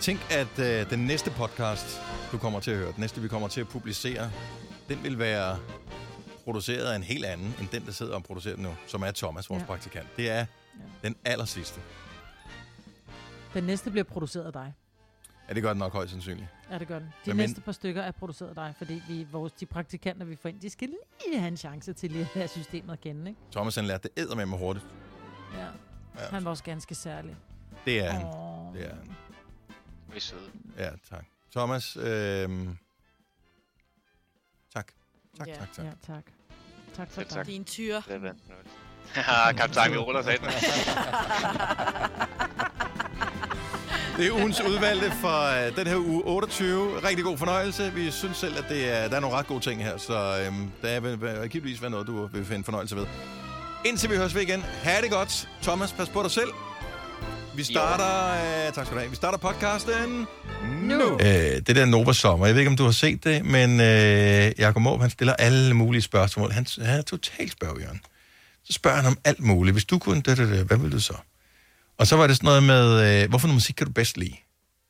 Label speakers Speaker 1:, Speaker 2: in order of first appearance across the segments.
Speaker 1: Tænk, at øh, den næste podcast, du kommer til at høre, den næste, vi kommer til at publicere, den vil være produceret af en helt anden, end den, der sidder og producerer den nu, som er Thomas, vores ja.
Speaker 2: Ja.
Speaker 1: praktikant. Det er den aller sidste.
Speaker 2: Den næste bliver produceret af dig.
Speaker 1: Ja, det gør den nok højst sandsynligt.
Speaker 2: Ja, det gør den. De
Speaker 1: Men-
Speaker 2: Men næste par stykker er produceret af dig, fordi vi, vores, de praktikanter, vi får ind, de skal lige have en chance til lige at lære systemet at kende, ikke?
Speaker 1: Thomas, han lærte det med hurtigt.
Speaker 2: Ja.
Speaker 1: Ja.
Speaker 2: Han var også ganske særlig.
Speaker 1: Det er han.
Speaker 2: Åh.
Speaker 1: Det er han.
Speaker 3: Vi er søde.
Speaker 1: Ja, tak. Thomas, øh... tak. Tak, tak, tak.
Speaker 2: Ja, tak. Tak for
Speaker 3: Selv tak.
Speaker 2: tak.
Speaker 4: Din tyre.
Speaker 3: Det er vandt noget. Haha, kaptajn, vi ruller sig ind.
Speaker 1: Det er ugens udvalgte for øh, den her uge 28. Rigtig god fornøjelse. Vi synes selv, at det er, der er nogle ret gode ting her, så øhm, der vil vil- givetvis være noget, du vil finde fornøjelse ved. Indtil vi høres ved igen. Ha' det godt. Thomas, pas på dig selv. Vi starter, øh, tak skal du have. Vi starter podcasten nu.
Speaker 2: Nu.
Speaker 1: Øh, det der Nova Sommer, jeg ved ikke, om du har set det, men øh, Jacob Måb, han stiller alle mulige spørgsmål. Han, han er totalt spørgjørn. Så spørger han om alt muligt. Hvis du kunne, da, da, da, hvad ville du så? Og så var det sådan noget med, øh, hvorfor noget musik kan du bedst lide?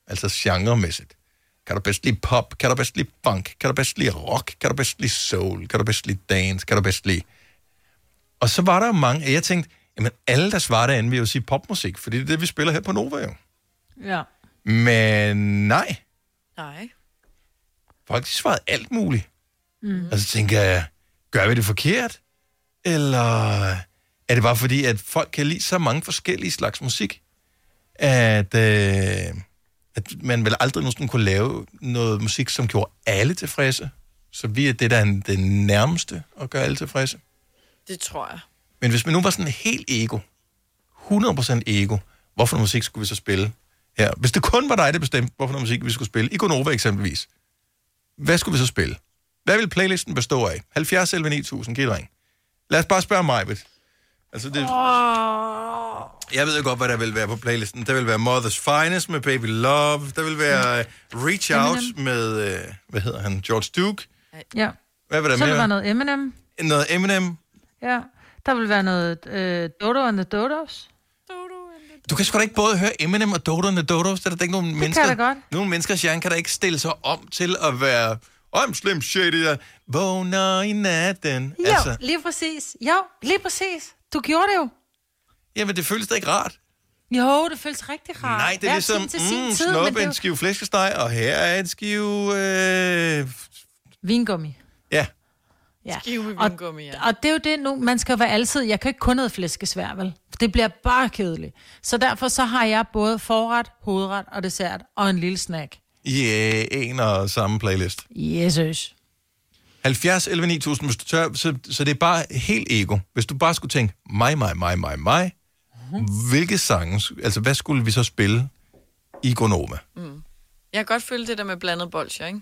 Speaker 1: Altså genremæssigt. Kan du bedst lide pop? Kan du bedst lide funk? Kan du bedst lide rock? Kan du bedst lide soul? Kan du bedst lide dance? Kan du bedst lide... Og så var der jo mange, og jeg tænkte, jamen alle, der svarer derinde, vil jo sige popmusik, fordi det er det, vi spiller her på Nova jo.
Speaker 2: Ja.
Speaker 1: Men nej,
Speaker 4: Nej.
Speaker 1: folk de svarede alt muligt. Mm. Og så tænker jeg, gør vi det forkert? Eller er det bare fordi, at folk kan lide så mange forskellige slags musik, at, øh, at man vel aldrig nogensinde kunne lave noget musik, som gjorde alle tilfredse? Så vi er det, der er en- det nærmeste at gøre alle tilfredse.
Speaker 4: Det tror jeg.
Speaker 1: Men hvis man nu var sådan helt ego, 100% ego, hvorfor noget musik skulle vi så spille her? Hvis det kun var dig, der bestemte, hvorfor noget musik vi skulle spille, i Gonova eksempelvis, hvad skulle vi så spille? Hvad vil playlisten bestå af? 70 eller 9000, giv et ring. Lad os bare spørge mig, ved. Altså, det... Jeg ved jo godt, hvad der vil være på playlisten. Der vil være Mother's Finest med Baby Love. Der vil være øh,
Speaker 2: Mm.
Speaker 1: Reach Out med, øh, hvad hedder han, George Duke.
Speaker 2: ja.
Speaker 1: Hvad vil der
Speaker 2: Så vil der være
Speaker 1: mere?
Speaker 2: noget Eminem.
Speaker 1: Noget Eminem.
Speaker 2: Ja. Der vil være noget øh, Dodo and the Dodos.
Speaker 1: Du kan sgu da ikke både høre Eminem og Dodo and the Dodos. Der er der ikke nogen det mennesker...
Speaker 2: jeg da godt.
Speaker 1: Nogle menneskers hjerne kan da ikke stille sig om til at være... I'm slim shady, jeg vågner i natten.
Speaker 2: Jo, altså. lige præcis. Jo, lige præcis. Du gjorde det jo.
Speaker 1: jamen det føles da ikke rart.
Speaker 2: Jo, det føles rigtig rart.
Speaker 1: Nej, det er
Speaker 2: Hver
Speaker 1: ligesom,
Speaker 2: sin til sin
Speaker 1: mm,
Speaker 2: tid, men
Speaker 1: snup
Speaker 2: det er
Speaker 1: en
Speaker 2: jo-
Speaker 1: skive flæskesteg, og her er en skive... Øh...
Speaker 2: Vingummi.
Speaker 1: Ja,
Speaker 2: Ja.
Speaker 4: Skive med
Speaker 2: Og-
Speaker 4: vingummi, ja.
Speaker 2: Og det er jo det nu, man skal jo være altid, jeg kan ikke kun have flæskesvær, vel? Det bliver bare kedeligt. Så derfor så har jeg både forret, hovedret og dessert og en lille snack.
Speaker 1: i øh, en og samme playlist.
Speaker 2: Jesus.
Speaker 1: 70 11 9000, hvis du tør, så, så det er bare helt ego. Hvis du bare skulle tænke, mig, mig, mig, mig, mig,
Speaker 4: Mhm.
Speaker 1: hvilke sange, altså hvad skulle vi så spille i Gonoma?
Speaker 4: Mm, Jeg kan godt føle det der med blandet bolsjer, ikke?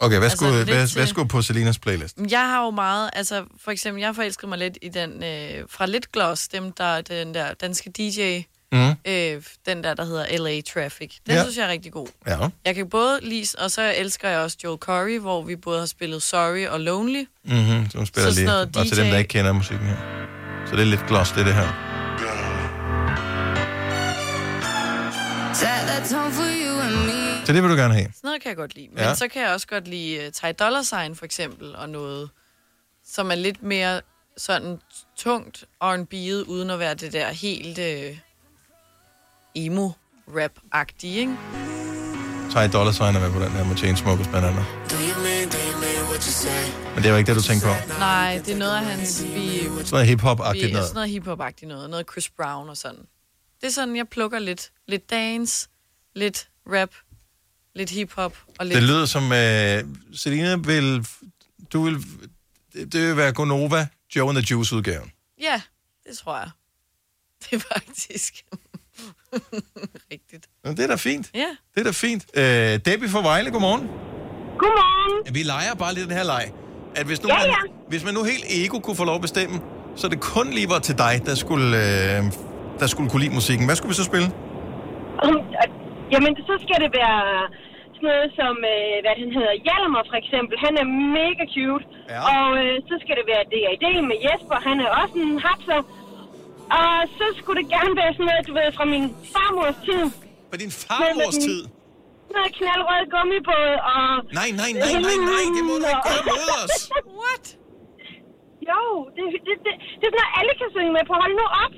Speaker 1: Okay, hvad,
Speaker 4: Altså,
Speaker 1: skulle,
Speaker 4: lidt
Speaker 1: hvad,
Speaker 4: til-
Speaker 1: hvad skulle på Selinas playlist?
Speaker 4: Men Jeg har jo meget, altså for eksempel, jeg forelskede mig lidt i den øh, fra Litgloss, dem der, den der danske DJ,
Speaker 1: Mm.
Speaker 4: øh, den der, der hedder LA Traffic. Den
Speaker 1: Ja.
Speaker 4: ja. synes jeg er rigtig god.
Speaker 1: Ja.
Speaker 4: Jeg kan både lide, og så elsker jeg også Joel Corey, hvor vi både har spillet Sorry og Lonely.
Speaker 1: Mm-hmm, så hun spiller
Speaker 4: Så sådan
Speaker 1: lige.
Speaker 4: noget
Speaker 1: Og til dem,
Speaker 4: DJ.
Speaker 1: der ikke kender musikken her. Så det er lidt gloss, det, det her.
Speaker 5: Set that tone for you and me.
Speaker 1: Så det vil du gerne have.
Speaker 4: Sådan noget kan jeg godt lide. Men
Speaker 1: Ja.
Speaker 4: ja. så kan jeg også godt lide uh, Ty Dolla Sign for eksempel, og noget, som er lidt mere sådan tungt R&B'et, uden at være det der helt øh, emo-rap-agtige, ikke?
Speaker 1: Ty Dolla Sign er med på den her med Chainsmokers blandt andet. Men det var ikke det, du tænkte på.
Speaker 4: Nej, det er noget af hans, vi,
Speaker 1: Sådan noget
Speaker 4: vi
Speaker 1: hip-hop-agtigt
Speaker 4: er sådan
Speaker 1: noget.
Speaker 4: noget hiphop-agtigt noget, noget Chris Brown og sådan. Det er sådan, jeg plukker lidt, lidt dance, lidt rap, lidt hiphop og lidt...
Speaker 1: Det lyder som, øh, Selina vil, du vil, det, det vil være Gonova, Joe and the Juice udgaven.
Speaker 4: Ja, det tror jeg. Det er faktisk rigtigt.
Speaker 1: Nå, det er da fint.
Speaker 4: Ja.
Speaker 1: Det er da fint. Øh, Debbie fra Vejle, godmorgen.
Speaker 6: Godmorgen.
Speaker 1: Vi leger bare lidt den her leg. At hvis nu,
Speaker 6: Ja,
Speaker 1: man,
Speaker 6: ja.
Speaker 1: hvis man nu helt ego kunne få lov at bestemme, så det kun lige var til dig, der skulle, øh, der skulle kunne lide musikken. Hvad skulle vi så spille?
Speaker 6: Um, og- Jamen, så skal det være sådan noget som, øh, hvad han hedder, Hjalmar for eksempel. Han er mega cute.
Speaker 1: Ja.
Speaker 6: Og øh, så skal det være DAD med Jesper. Han er også en hapser. Og så skulle det gerne være sådan noget, du ved, fra min farmors tid.
Speaker 1: På din farmors tid.
Speaker 6: Noget knaldrød gummibåd og...
Speaker 1: Nej, nej, nej, nej, nej, det må du ikke gøre mod os.
Speaker 4: What?
Speaker 6: Jo, det, det, det, det er sådan noget, alle kan synge med på. Hold nu op.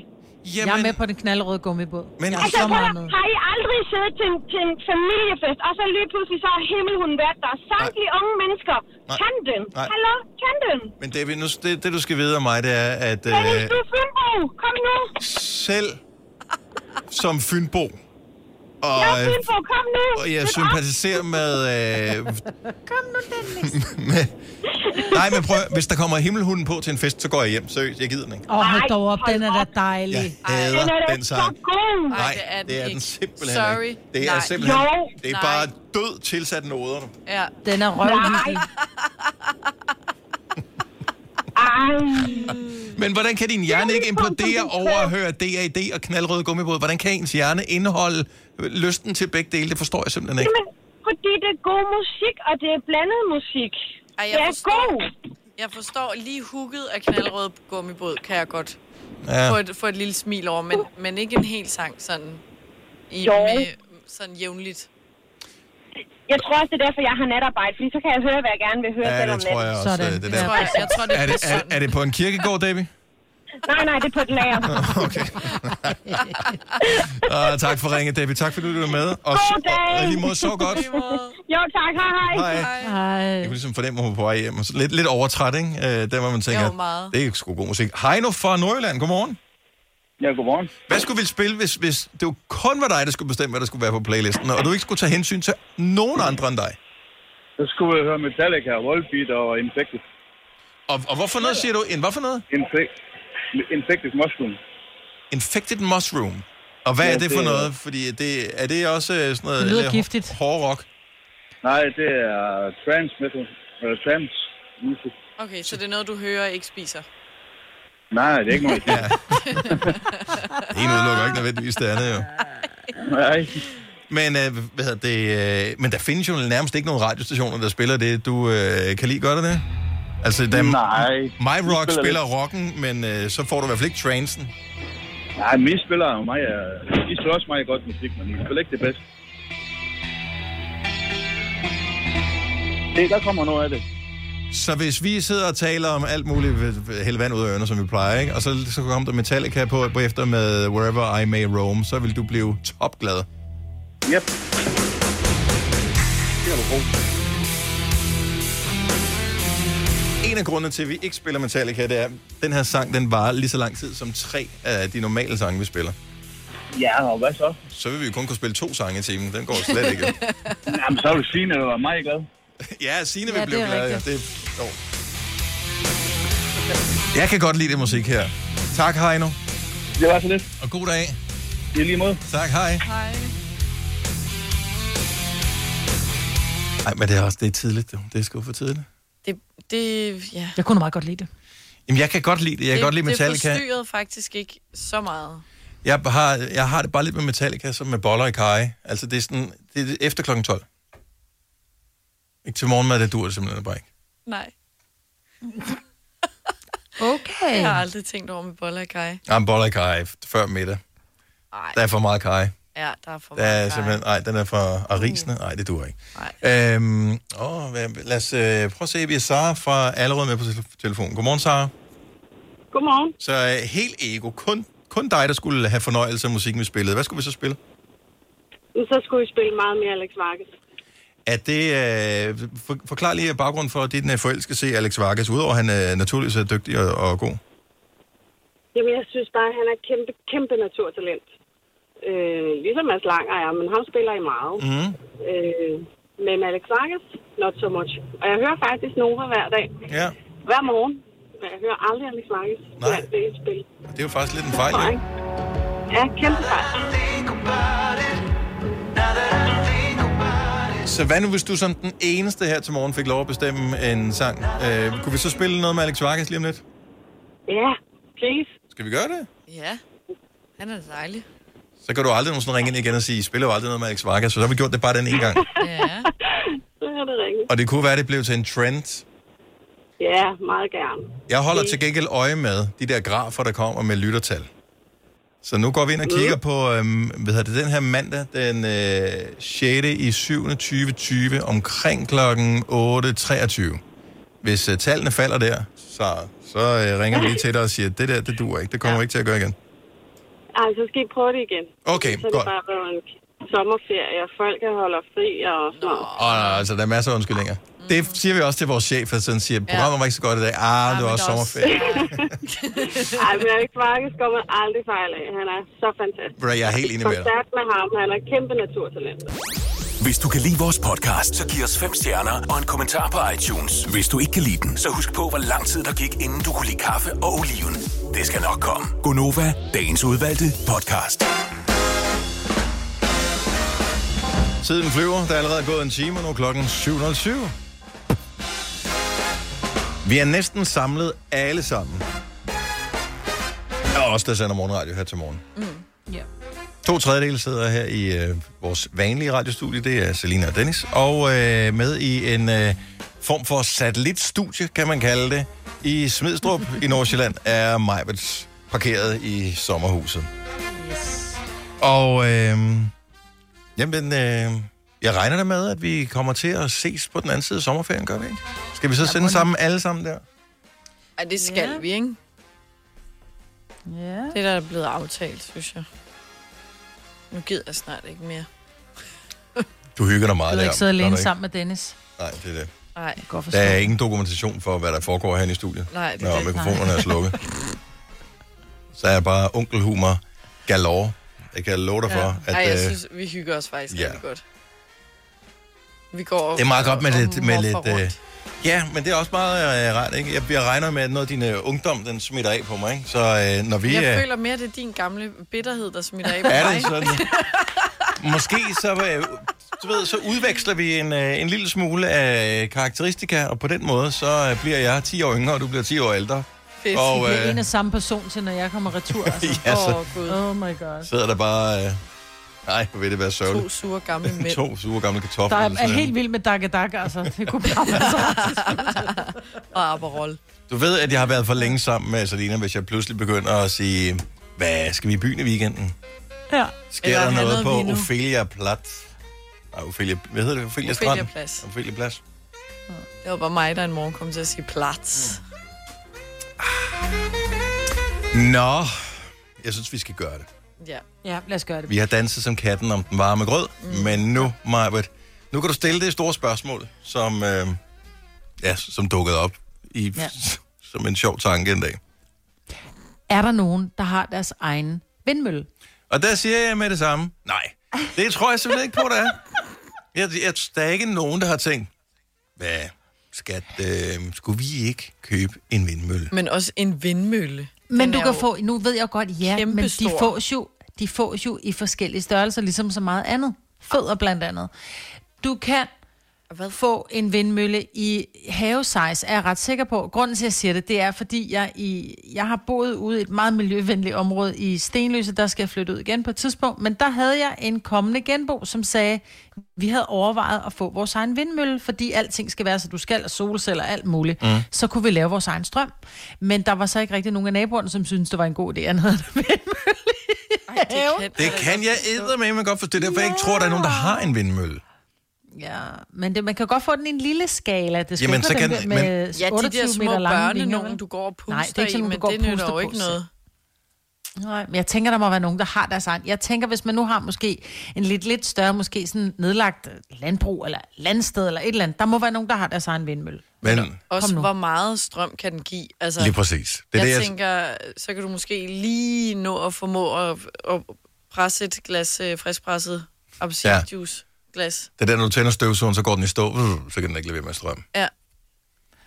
Speaker 2: Jamen. Jeg er med på den knaldrøde gummibåd.
Speaker 1: Men-
Speaker 2: Men, jeg er
Speaker 6: Altså,
Speaker 2: så
Speaker 6: prøv,
Speaker 2: meget
Speaker 6: at-
Speaker 2: med.
Speaker 6: har I aldrig siddet til en, til en familiefest, og så lige pludselig så har himmelhunden været der. Samtlige unge mennesker.
Speaker 1: Nej.
Speaker 6: Kan den?
Speaker 1: Nej.
Speaker 6: Hallo? Kan den?
Speaker 1: Men David, nu, det, det du skal vide om mig, det er, at
Speaker 6: Dennis,
Speaker 1: øh,
Speaker 6: du er Fynbo. Kom nu.
Speaker 1: selv som Fynbo, og,
Speaker 6: Jeg er
Speaker 1: øh,
Speaker 6: Fynbo. Kom nu.
Speaker 1: og jeg
Speaker 6: Lidt
Speaker 1: sympatiserer med... Øh, med nej, men prøv, at- hvis der kommer himmelhunden på til en fest, så går jeg hjem. Seriøst, jeg gider den ikke.
Speaker 2: Åh, hold
Speaker 6: Ej,
Speaker 2: dog op,
Speaker 6: hold
Speaker 2: den er da
Speaker 6: op.
Speaker 2: dejlig.
Speaker 1: Jeg
Speaker 4: Ej,
Speaker 1: hader
Speaker 6: Den er da
Speaker 1: den
Speaker 6: så
Speaker 1: sang.
Speaker 6: god.
Speaker 1: Nej,
Speaker 4: det er den
Speaker 1: det er den
Speaker 4: ikke.
Speaker 1: simpelthen
Speaker 4: Sorry.
Speaker 1: ikke. Det er
Speaker 4: Nej.
Speaker 1: simpelthen...
Speaker 6: Jo.
Speaker 1: Det er
Speaker 4: Nej.
Speaker 1: bare død tilsat noder. du.
Speaker 4: Ja.
Speaker 2: Den er røvhyggelig.
Speaker 6: Ej.
Speaker 1: Men hvordan kan din hjerne
Speaker 6: Det er
Speaker 1: ikke
Speaker 6: ligesom, som
Speaker 1: implodere
Speaker 6: du
Speaker 1: over at
Speaker 6: sagde.
Speaker 1: høre DAD og knaldrøde gummibåd? Hvordan kan ens hjerne indeholde øh, lysten til begge dele? Det forstår jeg simpelthen ikke.
Speaker 6: Jamen, fordi det er god musik, og det er blandet musik.
Speaker 4: Ej, jeg
Speaker 6: det er
Speaker 4: forstår.
Speaker 6: god.
Speaker 4: Jeg forstår lige hugget af knaldrød gummibåd, kan jeg godt
Speaker 1: Ja.
Speaker 4: få et, få et lille smil over, men, men ikke en hel sang sådan, i,
Speaker 6: Jo.
Speaker 4: med, sådan jævnligt.
Speaker 6: Jeg tror også, det er derfor, jeg har natarbejde, fordi så kan jeg høre, hvad jeg gerne vil høre selv
Speaker 1: Ja,
Speaker 6: om
Speaker 1: det tror
Speaker 6: natten.
Speaker 1: jeg også.
Speaker 2: Sådan.
Speaker 1: øh, Det
Speaker 2: Ja.
Speaker 4: Jeg tror,
Speaker 1: der.
Speaker 4: jeg, jeg tror det
Speaker 1: Er,
Speaker 4: er,
Speaker 1: det, er,
Speaker 4: sådan.
Speaker 1: er det på en kirkegård, Davy?
Speaker 6: Nej, nej, det er på et lager.
Speaker 1: Okay. uh, tak for ringet, Davy. Tak fordi du var med. Og,
Speaker 6: God dag.
Speaker 1: og lige måde, så godt.
Speaker 4: Lige måde.
Speaker 6: jo, tak. Hej, hej.
Speaker 1: Hej.
Speaker 4: Øh.
Speaker 2: Ej.
Speaker 1: Jeg kunne ligesom fornemme, at hun var på vej hjem. Og så Lidt, lidt overtræt, ikke? Øh, der var man tænker,
Speaker 4: Jo, meget.
Speaker 1: det er sgu god musik. Heino fra Nordjylland, godmorgen.
Speaker 7: Ja, godmorgen.
Speaker 1: Hvad skulle vi spille, hvis, hvis det jo kun var dig, der skulle bestemme, hvad der skulle være på playlisten, og du ikke skulle tage hensyn til nogen andre end dig?
Speaker 7: Så skulle jeg høre Metallica, Volbeat og Infected.
Speaker 1: Og, og hvorfor noget, siger du? En hvad for noget?
Speaker 7: Infect, Infected Mushroom.
Speaker 1: Infected Mushroom. Og hvad
Speaker 7: Ja,
Speaker 1: er det for
Speaker 7: det er-
Speaker 1: noget? Fordi det, er det også øh, sådan noget...
Speaker 2: Det lyder
Speaker 1: eller
Speaker 2: giftigt.
Speaker 1: Hård rock.
Speaker 7: Nej, det er trans metal. Eller trans music.
Speaker 4: Okay, så det er noget, du hører og ikke spiser.
Speaker 7: Nej, det er ikke noget. ja.
Speaker 1: Det ene udelukker ikke nødvendigvis det andet, jo.
Speaker 7: Nej.
Speaker 1: Men, øh, hvad hedder det, øh, men der findes jo nærmest ikke nogen radiostationer, der spiller det, du øh, kan lide. Gør der det? Altså, der,
Speaker 7: Nej.
Speaker 1: My Rock
Speaker 7: Vi
Speaker 1: spiller,
Speaker 7: spiller
Speaker 1: spiller rocken, men øh, så får du i hvert fald ikke trancen.
Speaker 7: Nej, mine spillere og mig er... De spiller også meget godt musik, men de spiller ikke det bedste. Det, der kommer noget af det.
Speaker 1: Så hvis vi sidder og taler om alt muligt, øh, hælde vand ud af ørerne, som vi plejer, ikke? og så, så kommer der Metallica på, på efter med Wherever I May Roam, så vil du blive topglad.
Speaker 7: Yep. Det er du god. til.
Speaker 1: En af grundene til, at vi ikke spiller Metallica, det er, at den her sang, den varer lige så lang tid som tre af de normale sange, vi spiller.
Speaker 7: Ja, og hvad så?
Speaker 1: Så vil vi jo kun kunne spille to sange i timen. Den går slet ikke.
Speaker 7: Jamen, så vil Signe være meget glad.
Speaker 1: Ja, Signe vil
Speaker 2: Ja,
Speaker 1: ja,
Speaker 2: det
Speaker 1: blive
Speaker 2: er
Speaker 1: glad. Ja.
Speaker 2: rigtigt.
Speaker 1: Det, jo. Jeg kan godt lide det musik her. Tak, Heino.
Speaker 7: Det var så lidt.
Speaker 1: Og god dag.
Speaker 7: I lige måde.
Speaker 1: Tak, hej.
Speaker 4: Hej.
Speaker 1: Nej, men det er også det er tidligt. jo. Det er sgu for tidligt.
Speaker 4: Det, det, ja.
Speaker 2: Jeg kunne meget godt lide det.
Speaker 1: Jamen, jeg kan godt lide det. Jeg kan
Speaker 4: det,
Speaker 1: godt lide
Speaker 4: Det
Speaker 1: Metallica.
Speaker 4: forstyrrede faktisk ikke så meget.
Speaker 1: Jeg har, jeg har det bare lidt med Metallica, som med boller i kaj. Altså, det er sådan... Det er efter klokken 12. Ikke til morgenmad, det dur det simpelthen bare ikke.
Speaker 4: Nej,
Speaker 2: Okay.
Speaker 4: jeg har aldrig tænkt over med boller og kaj.
Speaker 1: Jamen, boller i kaj før middag.
Speaker 4: Ej.
Speaker 1: Der er for meget kaj.
Speaker 4: Ja, der er for
Speaker 1: Der er
Speaker 4: meget
Speaker 1: simpelthen, nej, den er fra Arisene. Nej, det duer ikke. Øhm, åh, hvad- lad os øh, prøve at se, vi har Sara fra allerede med på tel- telefonen. Godmorgen, Sara.
Speaker 6: Godmorgen.
Speaker 1: Så øh, helt ego, kun, kun dig, der skulle have fornøjelse af musikken, vi spillede. Hvad skulle vi så spille?
Speaker 6: Så skulle I spille meget mere Alex Markes.
Speaker 1: Er det, øh, for, forklar lige baggrunden for, at dine øh, forældre skal se Alex Vargas, udover at han øh, naturligvis er dygtig og, og god.
Speaker 6: Jamen, jeg synes bare, at han er et kæmpe, kæmpe naturtalent. Øh, ligesom Mads Langer er, men ham spiller I meget.
Speaker 1: Mhm.
Speaker 6: Øh, men Alex Vargas, not so much. Og jeg hører faktisk Nova hver dag.
Speaker 1: Ja,
Speaker 6: Hver morgen. Men jeg hører aldrig Alex Vargas.
Speaker 1: Nej.
Speaker 6: Nej. Det er et spil.
Speaker 1: og det er jo faktisk lidt en fejl,
Speaker 6: Nej.
Speaker 1: ikke?
Speaker 6: Ja, kæmpe fejl.
Speaker 1: Så hvad nu, hvis du som den eneste her til morgen fik lov at bestemme en sang? Øh, kunne vi så spille noget med Alex Vargas lige om lidt?
Speaker 6: Ja, please.
Speaker 1: Skal vi gøre det?
Speaker 4: Ja, han er dejlig.
Speaker 1: så kan du aldrig nogensinde ringe ind igen og sige, I spiller jo aldrig noget med Alex Vargas, så så har vi gjort det bare den ene gang.
Speaker 4: Ja.
Speaker 6: Så er det rigtigt.
Speaker 1: Og det kunne være, det blev til en trend.
Speaker 6: Ja, meget gerne.
Speaker 1: Jeg holder til gengæld øje med de der grafer, der kommer med lyttertal. Så nu går vi ind og kigger på øhm, hvad hedder det, den her mandag, den øh, 6. i 7. 2020, omkring klokken 8.23. Hvis øh, tallene falder der, så, så øh, ringer vi lige til dig og siger, det der, det duer ikke, det kommer ja. ikke til at gøre igen.
Speaker 8: Ej, så skal I prøve det igen.
Speaker 1: Okay,
Speaker 8: så er
Speaker 1: godt.
Speaker 8: det bare blevet en sommerferie, og folk er holder fri og sådan noget.
Speaker 1: Åh, nej, altså, der er masser af undskyldninger. Det siger vi også til vores chef, at sådan siger, programmet var ikke så godt i dag. Ah, det
Speaker 4: men
Speaker 1: var også
Speaker 4: der er
Speaker 1: sommerferie.
Speaker 8: Ej, men Erik Varkes går man aldrig fejl af. Han er så fantastisk.
Speaker 1: Bro, jeg er helt enig med dig.
Speaker 8: Koncert med ham, han er kæmpe naturtalent.
Speaker 9: Hvis du kan lide vores podcast, så giv os fem stjerner og en kommentar på iTunes. Hvis du ikke kan lide den, så husk på, hvor lang tid der gik, inden du kunne lide kaffe og oliven. Det skal nok komme. Gonova, dagens udvalgte podcast.
Speaker 1: Tiden flyver. Der er allerede gået en time, og nu er klokken 7.07. Vi er næsten samlet alle sammen. Og også der sender morgenradio her til morgen.
Speaker 2: Mm, Ja.
Speaker 1: To tredjedele sidder her i øh, vores vanlige radiostudie. Det er Selina og Dennis. Og øh, med i en øh, form for satellitstudie, kan man kalde det, i Smidstrup i Nordsjælland, er Majbets parkeret i sommerhuset. Og øh, jamen, øh, jeg regner da med, at vi kommer til at ses på den anden side af sommerferien, gør vi ikke? Skal vi så sende sammen alle sammen der?
Speaker 4: Ej, det skal
Speaker 2: Ja.
Speaker 4: vi, ikke?
Speaker 2: Ja.
Speaker 4: Det, der er blevet aftalt, synes jeg. Nu gider jeg snart ikke mere.
Speaker 1: Du hygger dig meget
Speaker 2: Du
Speaker 1: der.
Speaker 2: har ikke siddet
Speaker 1: gør
Speaker 2: alene
Speaker 1: du ikke?
Speaker 2: sammen med Dennis.
Speaker 1: Nej, det er det.
Speaker 4: Nej,
Speaker 2: Godt forstå.
Speaker 1: Der er ingen dokumentation for, hvad der foregår herinde i studiet.
Speaker 4: nej, det
Speaker 1: Nå,
Speaker 4: er det.
Speaker 1: mikrofonerne er slukket. Så er jeg bare onkelhumor galore. Jeg kan love dig for, ja. at...
Speaker 4: Ej, jeg
Speaker 1: øh,
Speaker 4: synes, vi hygger os faktisk
Speaker 1: ja.
Speaker 4: ja. rigtig godt. Vi går
Speaker 1: Det er meget godt med
Speaker 4: og-
Speaker 1: lidt-
Speaker 4: og
Speaker 1: med
Speaker 4: moffer
Speaker 1: lidt,
Speaker 4: rundt.
Speaker 1: øh, Ja, men det er også meget øh, rart, ikke? Jeg, jeg regner med, at noget af din øh, ungdom, den smitter af på mig, ikke? Så øh, når vi...
Speaker 4: Jeg
Speaker 1: øh,
Speaker 4: føler mere, det er din gamle bitterhed, der smitter af på
Speaker 1: er
Speaker 4: mig.
Speaker 1: det sådan... Måske så, øh, du ved, så udveksler vi en, øh, en lille smule af øh, karakteristika, og på den måde, så øh, bliver jeg 10 år yngre, og du bliver 10 år ældre.
Speaker 4: Fedt.
Speaker 1: Og,
Speaker 2: Vi
Speaker 1: øh,
Speaker 2: er en og samme person til, når jeg kommer retur. Altså.
Speaker 1: ja,
Speaker 4: Åh,
Speaker 1: så
Speaker 4: oh, gud.
Speaker 2: Oh my god.
Speaker 1: sidder der bare... Øh, nej, hvor vil det være sørgeligt.
Speaker 4: To sure gamle mænd.
Speaker 1: To sure gamle
Speaker 2: Der
Speaker 1: kartofler.
Speaker 2: er,
Speaker 1: Sådan.
Speaker 2: er helt vild med dak dak, altså. Det kunne bare være så.
Speaker 4: Og Aperol.
Speaker 1: Du ved, at jeg har været for længe sammen med Salina, hvis jeg pludselig begynder at sige, hvad skal vi i byen i weekenden?
Speaker 2: Ja.
Speaker 1: Sker
Speaker 4: Eller
Speaker 1: der
Speaker 4: have noget
Speaker 1: noget på
Speaker 4: vino."
Speaker 1: Ophelia Plat? Nej, Ophelia, hvad hedder det? Ophelia, Strand?
Speaker 4: Ophelia Plads.
Speaker 1: Ophelia Plads.
Speaker 4: Det var bare mig, der en morgen kom til at sige plats.
Speaker 2: Mm.
Speaker 1: Nå, jeg synes, vi skal gøre det.
Speaker 4: Ja.
Speaker 2: ja, lad os gøre det.
Speaker 1: Vi har danset som katten om den varme grød, mm. men nu, Marbet, nu kan du stille det store spørgsmål, som, øh, ja, som dukkede op i, ja.
Speaker 2: Ja.
Speaker 1: som en sjov tanke en dag.
Speaker 2: Er der nogen, der har deres egen vindmølle?
Speaker 1: Og der siger jeg med det samme, nej, det tror jeg simpelthen ikke på, det er. Jeg, jeg, der er ikke nogen, der har tænkt, hvad, skat, øh, skulle vi ikke købe en vindmølle?
Speaker 4: Men også en vindmølle.
Speaker 2: Men
Speaker 4: Den
Speaker 2: du
Speaker 4: er
Speaker 2: kan
Speaker 4: jo
Speaker 2: få, nu ved jeg godt, ja, men de
Speaker 4: kæmpestor.
Speaker 2: fås, jo, de fås jo i forskellige størrelser, ligesom så meget andet. Fødder blandt andet. Du kan
Speaker 4: Hvad?
Speaker 2: få en vindmølle i havesize, er jeg ret sikker på. Grunden til, at jeg siger det, det er, fordi jeg, i, jeg har boet ude i et meget miljøvenligt område i Stenløse. Der skal jeg flytte ud igen på et tidspunkt. Men der havde jeg en kommende genbo, som sagde, vi havde overvejet at få vores egen vindmølle, fordi alting skal være, så du skal, og solceller og alt muligt. Mm. Så kunne vi lave vores egen strøm. Men der var så ikke rigtig nogen af naboerne, som syntes, det var en god idé, at han havde en vindmølle i haven.
Speaker 4: kan-
Speaker 1: Det kan jeg eddermame godt forstå, Det er derfor jeg ikke tror, der er nogen, der har en vindmølle.
Speaker 2: Ja, men det, man kan godt få den i en lille skala. Det skal
Speaker 1: Jamen,
Speaker 2: Jamen, ikke
Speaker 1: så
Speaker 2: være den
Speaker 1: kan-
Speaker 2: der
Speaker 1: men-
Speaker 2: med
Speaker 4: Ja, de
Speaker 2: 28
Speaker 4: der små
Speaker 2: meter lange
Speaker 4: børne,
Speaker 2: vinger,
Speaker 4: nogen
Speaker 2: vel?
Speaker 4: du går og puster
Speaker 2: Nej, det er ikke
Speaker 4: i,
Speaker 2: sådan, nogen,
Speaker 4: men
Speaker 2: du går
Speaker 4: det
Speaker 2: og
Speaker 4: nytter
Speaker 2: puster
Speaker 4: jo
Speaker 2: på
Speaker 4: ikke
Speaker 2: selv.
Speaker 4: noget.
Speaker 2: Nej, men jeg tænker, der må være nogen, der har deres egen. Jeg tænker, hvis man nu har måske en lidt, lidt større, måske sådan nedlagt øh, landbrug eller landsted eller et eller andet, der må være nogen, der har deres egen vindmølle.
Speaker 1: Men
Speaker 4: Også
Speaker 2: Kom nu.
Speaker 4: hvor meget strøm kan den give. Altså,
Speaker 1: lige præcis. Det er
Speaker 4: jeg
Speaker 1: det, jeg,
Speaker 4: tænker, så kan du måske lige nå at formå at, at presse et glas øh, friskpresset appelsinjuice-glas.
Speaker 1: det er der, når du tænder støvsugeren, så går den i stå, uh, så kan den ikke levere med strøm.
Speaker 4: Ja.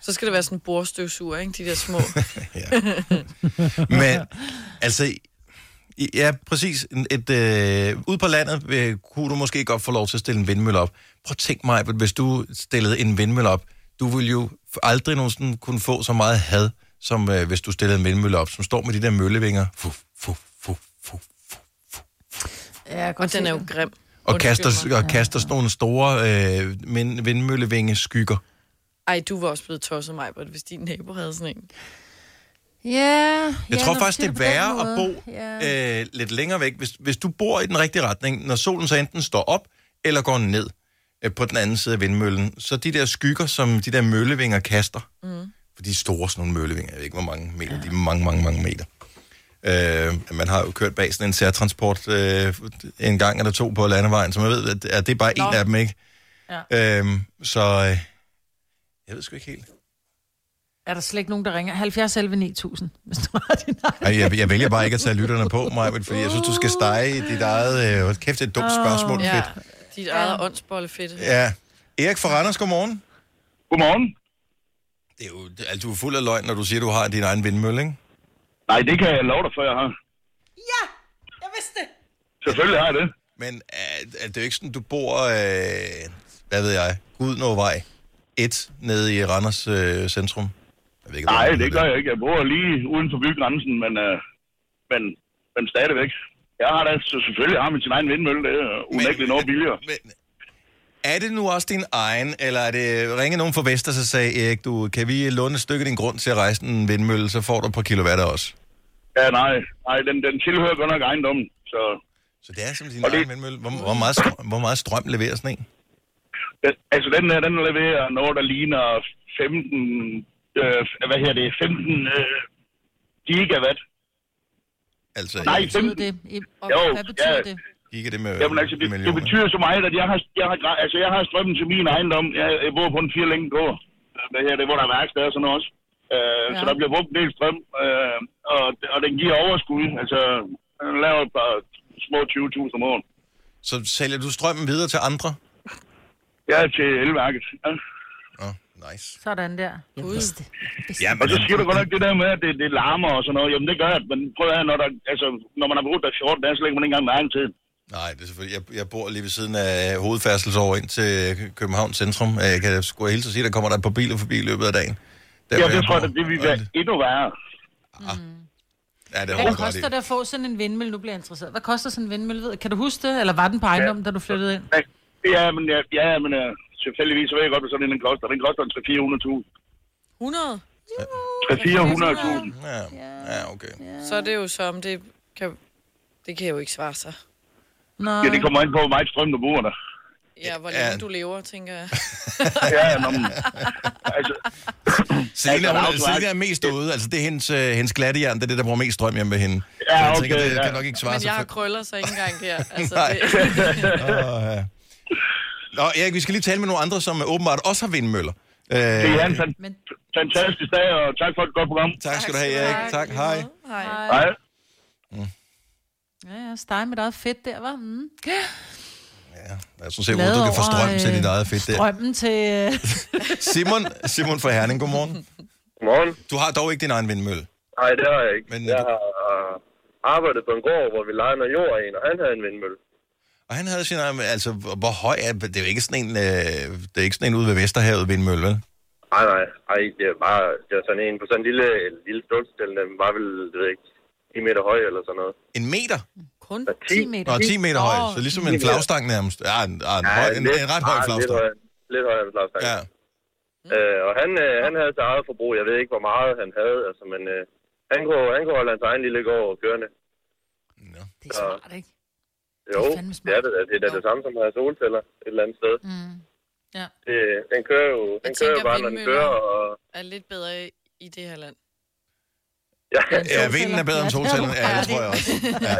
Speaker 4: Så skal det være sådan en bordstøvsuger, ikke? De der små.
Speaker 1: Men altså, i- ja, præcis. Et, øh, ude på landet øh, kunne du måske godt få lov til at stille en vindmølle op. Prøv at tænk mig, hvis du stillede en vindmølle op. Du ville jo aldrig nogensinde kunne få så meget had, som øh, hvis du stillede en vindmølle op, som står med de der møllevinger. Fu, fu, fu, fu, fu.
Speaker 2: Ja, godt
Speaker 4: Og den er jo grim.
Speaker 1: Og
Speaker 4: Undskyld
Speaker 1: kaster,
Speaker 4: mig.
Speaker 1: og kaster sådan nogle store øh, vind- vindmøllevinge skygger.
Speaker 4: Ej, du var også blevet tosset mig, hvis din nabo havde sådan en.
Speaker 2: Ja, jeg
Speaker 1: Jeg tror faktisk, det er værre at bo øh, lidt længere væk, hvis, hvis du bor i den rigtige retning, når solen så enten står op eller går ned øh, på den anden side af vindmøllen, så de der skygger, som de der møllevinger kaster, mm. for de er store sådan nogle møllevinger, jeg ved ikke, hvor mange meter, ja. de er mange, mange, mange meter. Øh, man har jo kørt bag sådan en særtransport øh, en gang eller to på landevejen, så man ved, at- at det er bare en
Speaker 4: Nå.
Speaker 1: af dem, ikke? Ja. Øh, så øh, jeg ved sgu ikke helt.
Speaker 2: Er der slet ikke nogen, der ringer? 70 11 9000, hvis du har din egen.
Speaker 1: Ej, jeg, jeg vælger bare ikke at tage lytterne på, Maja, fordi jeg synes, du skal stege i dit eget... Øh, hold kæft, det er et dumt spørgsmål. Oh,
Speaker 4: Ja,
Speaker 1: fedt.
Speaker 4: dit eget åndsbolle fedt.
Speaker 1: Ja. Erik fra Randers, godmorgen.
Speaker 7: Godmorgen.
Speaker 1: Det er jo, det- altså, du er fuld af løgn, når du siger, du har din egen vindmølle, ikke?
Speaker 7: Nej, det kan jeg love dig for, jeg har.
Speaker 2: Ja, jeg vidste det.
Speaker 7: Selvfølgelig har jeg det.
Speaker 1: Men er, er det jo ikke sådan, du bor, øh, hvad ved jeg, Gudnåvej 1 nede i Randers øh, centrum? Jeg ved ikke,
Speaker 7: Nej, det gør jeg ikke. Jeg bor lige uden for bygrænsen, men, øh, men, men stadigvæk. Jeg har da så selvfølgelig har min sin egen vindmølle, øh, det er unægteligt noget billigere.
Speaker 1: Men, er det nu også din egen, eller er det ringe nogen fra Vester, så sagde Erik, du, kan vi låne et stykke af din grund til at rejse en vindmølle, så får du et par kilowatt også?
Speaker 7: Ja, nej, nej den, den tilhører godt nok ejendommen. Så
Speaker 1: Så det er simpelthen
Speaker 7: Og
Speaker 1: din
Speaker 7: det-
Speaker 1: egen vindmølle. Hvor, hvor, meget strøm, hvor meget strøm leverer sådan en?
Speaker 7: den, altså den der, den leverer noget, der ligner 15, øh, hvad her det, 15 øh, gigawatt.
Speaker 1: Altså,
Speaker 7: Nej,
Speaker 1: jeg-
Speaker 7: 15,
Speaker 2: Betyder det? I- Og
Speaker 7: Jo,
Speaker 2: hvad betyder
Speaker 7: ja.
Speaker 2: det?
Speaker 1: Gik det med
Speaker 7: Jamen altså, det, det betyder så meget, at jeg har, jeg har, gra- altså, jeg har strømmen til min ejendom. Jeg, jeg bor på en fire længe gård. Det her, det er, hvor der er værksted og sådan noget også. Øh,
Speaker 2: Ja.
Speaker 7: Så der bliver brugt en del strøm, øh, og, og den giver overskud. Altså, den laver et par små 20.000 om året.
Speaker 1: Så sælger du strømmen videre til andre?
Speaker 7: Jeg er til elværket. Ja.
Speaker 1: Åh, oh, nice.
Speaker 2: Sådan der. Jeg vidste det.
Speaker 1: Ja,
Speaker 7: Og
Speaker 1: men,
Speaker 7: så siger du godt nok det der med, at det, det larmer og sådan noget. Jamen, det gør at Men prøv at høre, når, der, altså, når man har brugt der 14 dage, så lægger man ikke engang mærke til det.
Speaker 1: nej, det er selvfølgelig. Jeg, jeg bor lige ved siden af hovedfærdselsår ind til København Centrum. Øh, Jeg kan sgu hele tiden sige, der kommer der et par biler forbi i løbet af dagen. Der,
Speaker 7: Ja,
Speaker 1: hvor
Speaker 7: det
Speaker 1: jeg
Speaker 7: tror jeg,
Speaker 1: bor.
Speaker 7: at det vil
Speaker 1: Og
Speaker 7: være
Speaker 1: det-
Speaker 7: endnu værre.
Speaker 4: Mm.
Speaker 1: Ja, det er
Speaker 2: Hvad
Speaker 1: hårdt ret i.
Speaker 2: koster det at få sådan en vindmølle? Nu bliver jeg interesseret. Hvad koster sådan en vindmølle? Ved- Kan du huske det? Eller var den på ejendommen, da du flyttede ind?
Speaker 7: Ja, men, ja, ja, men øh, selvfølgelig så ved jeg godt, hvad sådan en den koster. Den koster en 300-400.000.
Speaker 4: 100?
Speaker 7: 400.000.
Speaker 1: Ja, ja, okay.
Speaker 4: Så er det jo som, det kan, det kan jo ikke svare sig.
Speaker 2: Nej.
Speaker 7: Ja, det kommer ind på, hvor meget strøm du bruger der.
Speaker 4: Ja, hvor
Speaker 1: Ja.
Speaker 4: længe du lever, tænker jeg.
Speaker 7: Ja, ja, nå, men, altså,
Speaker 1: Selina,
Speaker 7: der er
Speaker 1: hun,
Speaker 7: også-
Speaker 1: Selina er mest derude. Altså, det er hendes, øh, hendes glattejern, det er det, der bruger mest strøm hjemme ved hende.
Speaker 7: Ja,
Speaker 1: Så jeg
Speaker 7: okay,
Speaker 1: tænker, det
Speaker 7: ja.
Speaker 1: kan nok ikke svare
Speaker 4: Men
Speaker 1: sig
Speaker 4: jeg har
Speaker 1: for...
Speaker 4: krøller, så ikke engang der. Altså,
Speaker 1: Nej.
Speaker 4: det,
Speaker 1: Åh, ja. Nå, Erik, vi skal lige tale med nogle andre, som øh, åbenbart også har vindmøller. Øh,
Speaker 7: det er en fan-
Speaker 2: Men
Speaker 7: fantastisk dag, og tak for et godt program.
Speaker 1: tak skal du have, Erik. Tak, hej.
Speaker 4: Hej.
Speaker 7: Hej.
Speaker 2: ja, ja, steg med dig fedt der, var. Mm.
Speaker 1: Ja, jeg synes, jeg,
Speaker 2: Glad
Speaker 1: du kan få
Speaker 2: over,
Speaker 1: strøm til
Speaker 2: øh,
Speaker 1: dit eget fedt der.
Speaker 2: Drømmen til... øh,
Speaker 1: Simon, Simon fra Herning, godmorgen.
Speaker 10: Godmorgen.
Speaker 1: Du har dog ikke din egen vindmølle.
Speaker 10: Nej, det har jeg ikke.
Speaker 1: Men,
Speaker 10: Men,
Speaker 1: øh,
Speaker 10: jeg
Speaker 1: du-
Speaker 10: har arbejdet på en gård, hvor vi leger noget jord af en, og han havde en vindmølle.
Speaker 1: Og han havde sin egen, altså, hvor høj er det? er jo ikke sådan en, øh, det er ikke sådan en ude ved Vesterhavet vindmølle, vel?
Speaker 10: Nej, nej, nej, det er bare det er sådan en på sådan en lille, en lille stålstil, den var vel, det ved jeg ikke, 10 meter høj eller sådan noget.
Speaker 1: En meter?
Speaker 2: Kun
Speaker 10: Ja,
Speaker 2: 10
Speaker 10: ti.
Speaker 2: meter.
Speaker 1: Nå, 10 meter høj, så ligesom en flagstang nærmest. Ja, en, ja, en, høj, en, en ret høj
Speaker 10: ah, Lidt
Speaker 1: flagstang.
Speaker 10: højere, lidt højere end flagstang.
Speaker 1: Ja.
Speaker 10: Ja.
Speaker 2: Mm.
Speaker 10: Øh, og han, øh, han havde sit eget forbrug. Jeg ved ikke, hvor meget han havde, altså, men øh, han, kunne, han kunne holde hans egen lille gård kørende.
Speaker 1: Nå.
Speaker 2: Det er smart, ikke?
Speaker 10: Jo,
Speaker 2: Det er fandme smart.
Speaker 10: det er det, da. det er da det samme som at have solceller et eller andet sted.
Speaker 2: Mm.
Speaker 10: Det, den kører jo, den kører jo
Speaker 4: tænker,
Speaker 10: bare, når den
Speaker 4: vindmøller-
Speaker 10: kører, og
Speaker 4: Er lidt bedre i- i det her land.
Speaker 10: ja,
Speaker 1: Ja, vinden er bedre end solcellen. Ja, det tror jeg også. Ja.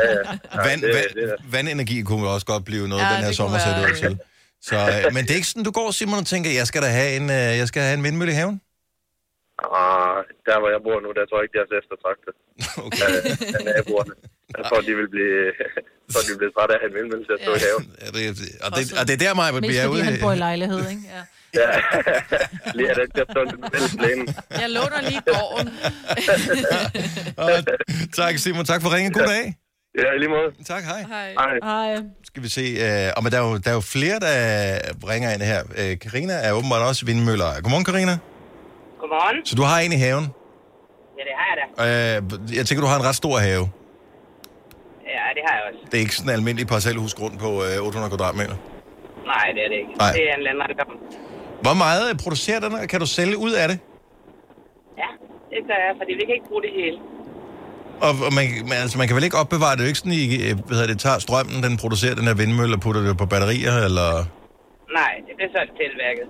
Speaker 1: Vand,
Speaker 10: det-
Speaker 1: vand,
Speaker 10: det
Speaker 1: vandenergi kunne også godt blive noget,
Speaker 4: Ja,
Speaker 1: den her
Speaker 4: det
Speaker 1: sommer
Speaker 4: kunne
Speaker 1: ser det ud
Speaker 4: være-
Speaker 1: til. Så, øh, men det er ikke sådan, du går, Simon, og tænker, jeg skal da have en, øh, jeg skal have en vindmølle i haven?
Speaker 10: Ah, der hvor jeg bor nu, der tror jeg ikke, de er så eftertragtet
Speaker 1: Okay.
Speaker 10: af, af naboerne. Jeg tror, de vil blive, jeg tror, de bliver trætte af at have en vindmølle til at stå i haven.
Speaker 1: Er det, og, det, og det er der, mig, vi
Speaker 2: Mest
Speaker 1: er
Speaker 2: fordi
Speaker 1: ude.
Speaker 2: han bor i lejlighed, ikke? Ja.
Speaker 10: Ja. Lige at den skal stå lidt mellem plænen.
Speaker 4: Jeg låner lige gården.
Speaker 1: Og, tak, Simon. Tak for ringen. God dag.
Speaker 10: Ja, i lige måde.
Speaker 1: Tak, hej.
Speaker 4: Hej.
Speaker 10: Hej.
Speaker 2: Ej,
Speaker 1: Skal vi se. Øh, og men der er, jo, der er jo flere, der ringer ind her. Øh, Karina er åbenbart også vindmøller. Godmorgen, Karina.
Speaker 8: Godmorgen.
Speaker 1: Så du har en i haven.
Speaker 8: Ja, det har jeg da.
Speaker 1: Øh, jeg tænker, du har en ret stor have.
Speaker 8: Ja, det har jeg også.
Speaker 1: Det er ikke sådan en almindelig parcelhusgrund på øh, 800 kvadratmeter.
Speaker 8: Nej, det er det ikke.
Speaker 1: Nej.
Speaker 8: Det er en landejendom.
Speaker 1: Hvor meget øh, producerer den, og kan du sælge ud af det?
Speaker 8: Ja. det gør jeg, fordi vi kan ikke bruge det hele.
Speaker 1: Og, og man, man, altså, man kan vel ikke opbevare det, det er jo ikke sådan, I øh, hvad hedder det, tager strømmen, den producerer den her vindmølle og putter det på batterier, eller...
Speaker 8: Nej, det bliver sådan tilværket.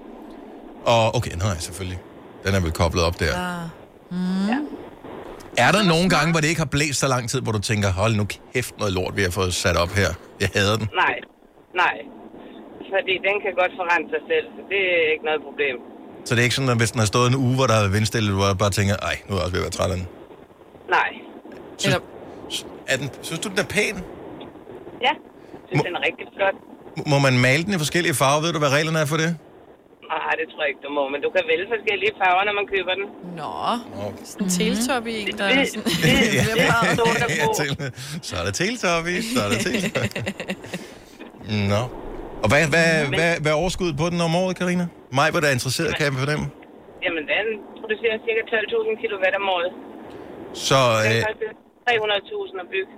Speaker 1: Og okay, nej, selvfølgelig. Den er vel koblet op der.
Speaker 8: Ah. Mm. Ja.
Speaker 1: Er der nogle gange, hvor det ikke har blæst så lang tid, hvor du tænker, hold nu kæft noget lort, vi har fået sat op her. Jeg hader den.
Speaker 8: Nej, nej. Fordi den kan godt forrente sig selv, så det er ikke noget problem.
Speaker 1: Så det er ikke sådan, at hvis den har stået en uge, hvor der har været vindstille, hvor jeg bare tænker, ej, nu er jeg også ved at være træt af den.
Speaker 8: Nej.
Speaker 1: Synes, er den, synes du, den er pæn?
Speaker 8: Ja, jeg synes, den er rigtig flot.
Speaker 1: M- Må man male den i forskellige farver? Ved du, hvad reglerne er for det?
Speaker 8: Nej, det tror jeg ikke, du må, men du kan vælge forskellige farver, når man køber den. Nå,
Speaker 4: Sådan en teletop i en, der er sådan...
Speaker 1: Ja.
Speaker 4: Hvem har stået der på?
Speaker 1: Til- så er der Teletubby, så er der Teletubby. Nå. Og hvad, hvad,
Speaker 8: Men-
Speaker 1: hvad, hvad er overskuddet på den om året, Karina? Mig, hvor der er interesseret, kan jeg fornemme.
Speaker 8: Jamen, den producerer cirka 12.000 kW om året.
Speaker 1: Så,
Speaker 8: Den
Speaker 1: øh,
Speaker 8: koster 300.000 at bygge.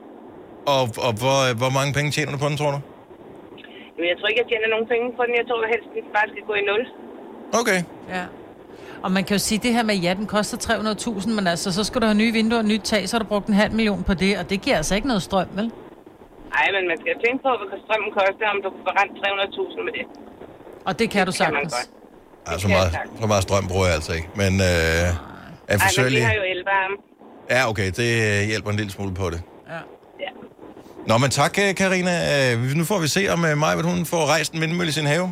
Speaker 1: og, og hvor, hvor mange penge tjener du på den, tror du?
Speaker 8: Jamen, jeg tror ikke, jeg tjener nogen penge på den. Jeg tror helst, den bare skal gå i nul.
Speaker 1: Okay.
Speaker 2: Ja. Og man kan jo sige, det her med, ja, den koster 300.000, men altså, så skal du have nye vinduer og nyt tag, så har du brugt en halv million på det, og det giver altså ikke noget strøm, vel?
Speaker 8: Ej, men man skal tænke på, hvad strømmen koster, om du kan forrente 300.000 med det.
Speaker 2: Og det kan du
Speaker 8: kan man
Speaker 2: sagtens.
Speaker 1: Altså,
Speaker 8: godt.
Speaker 1: Ej, så, meget, så meget strøm bruger jeg altså ikke. Men øh, er
Speaker 8: Ej, men vi
Speaker 1: forsøgelig...
Speaker 8: har jo elvarme.
Speaker 1: Ja, okay, det øh, hjælper en lille smule på det.
Speaker 2: Ja.
Speaker 8: Ja.
Speaker 1: Nå, men tak, øh, Karina. Øh, Nu får vi se, om øh, Maj, hvad hun får rejst en vindmølle i sin have.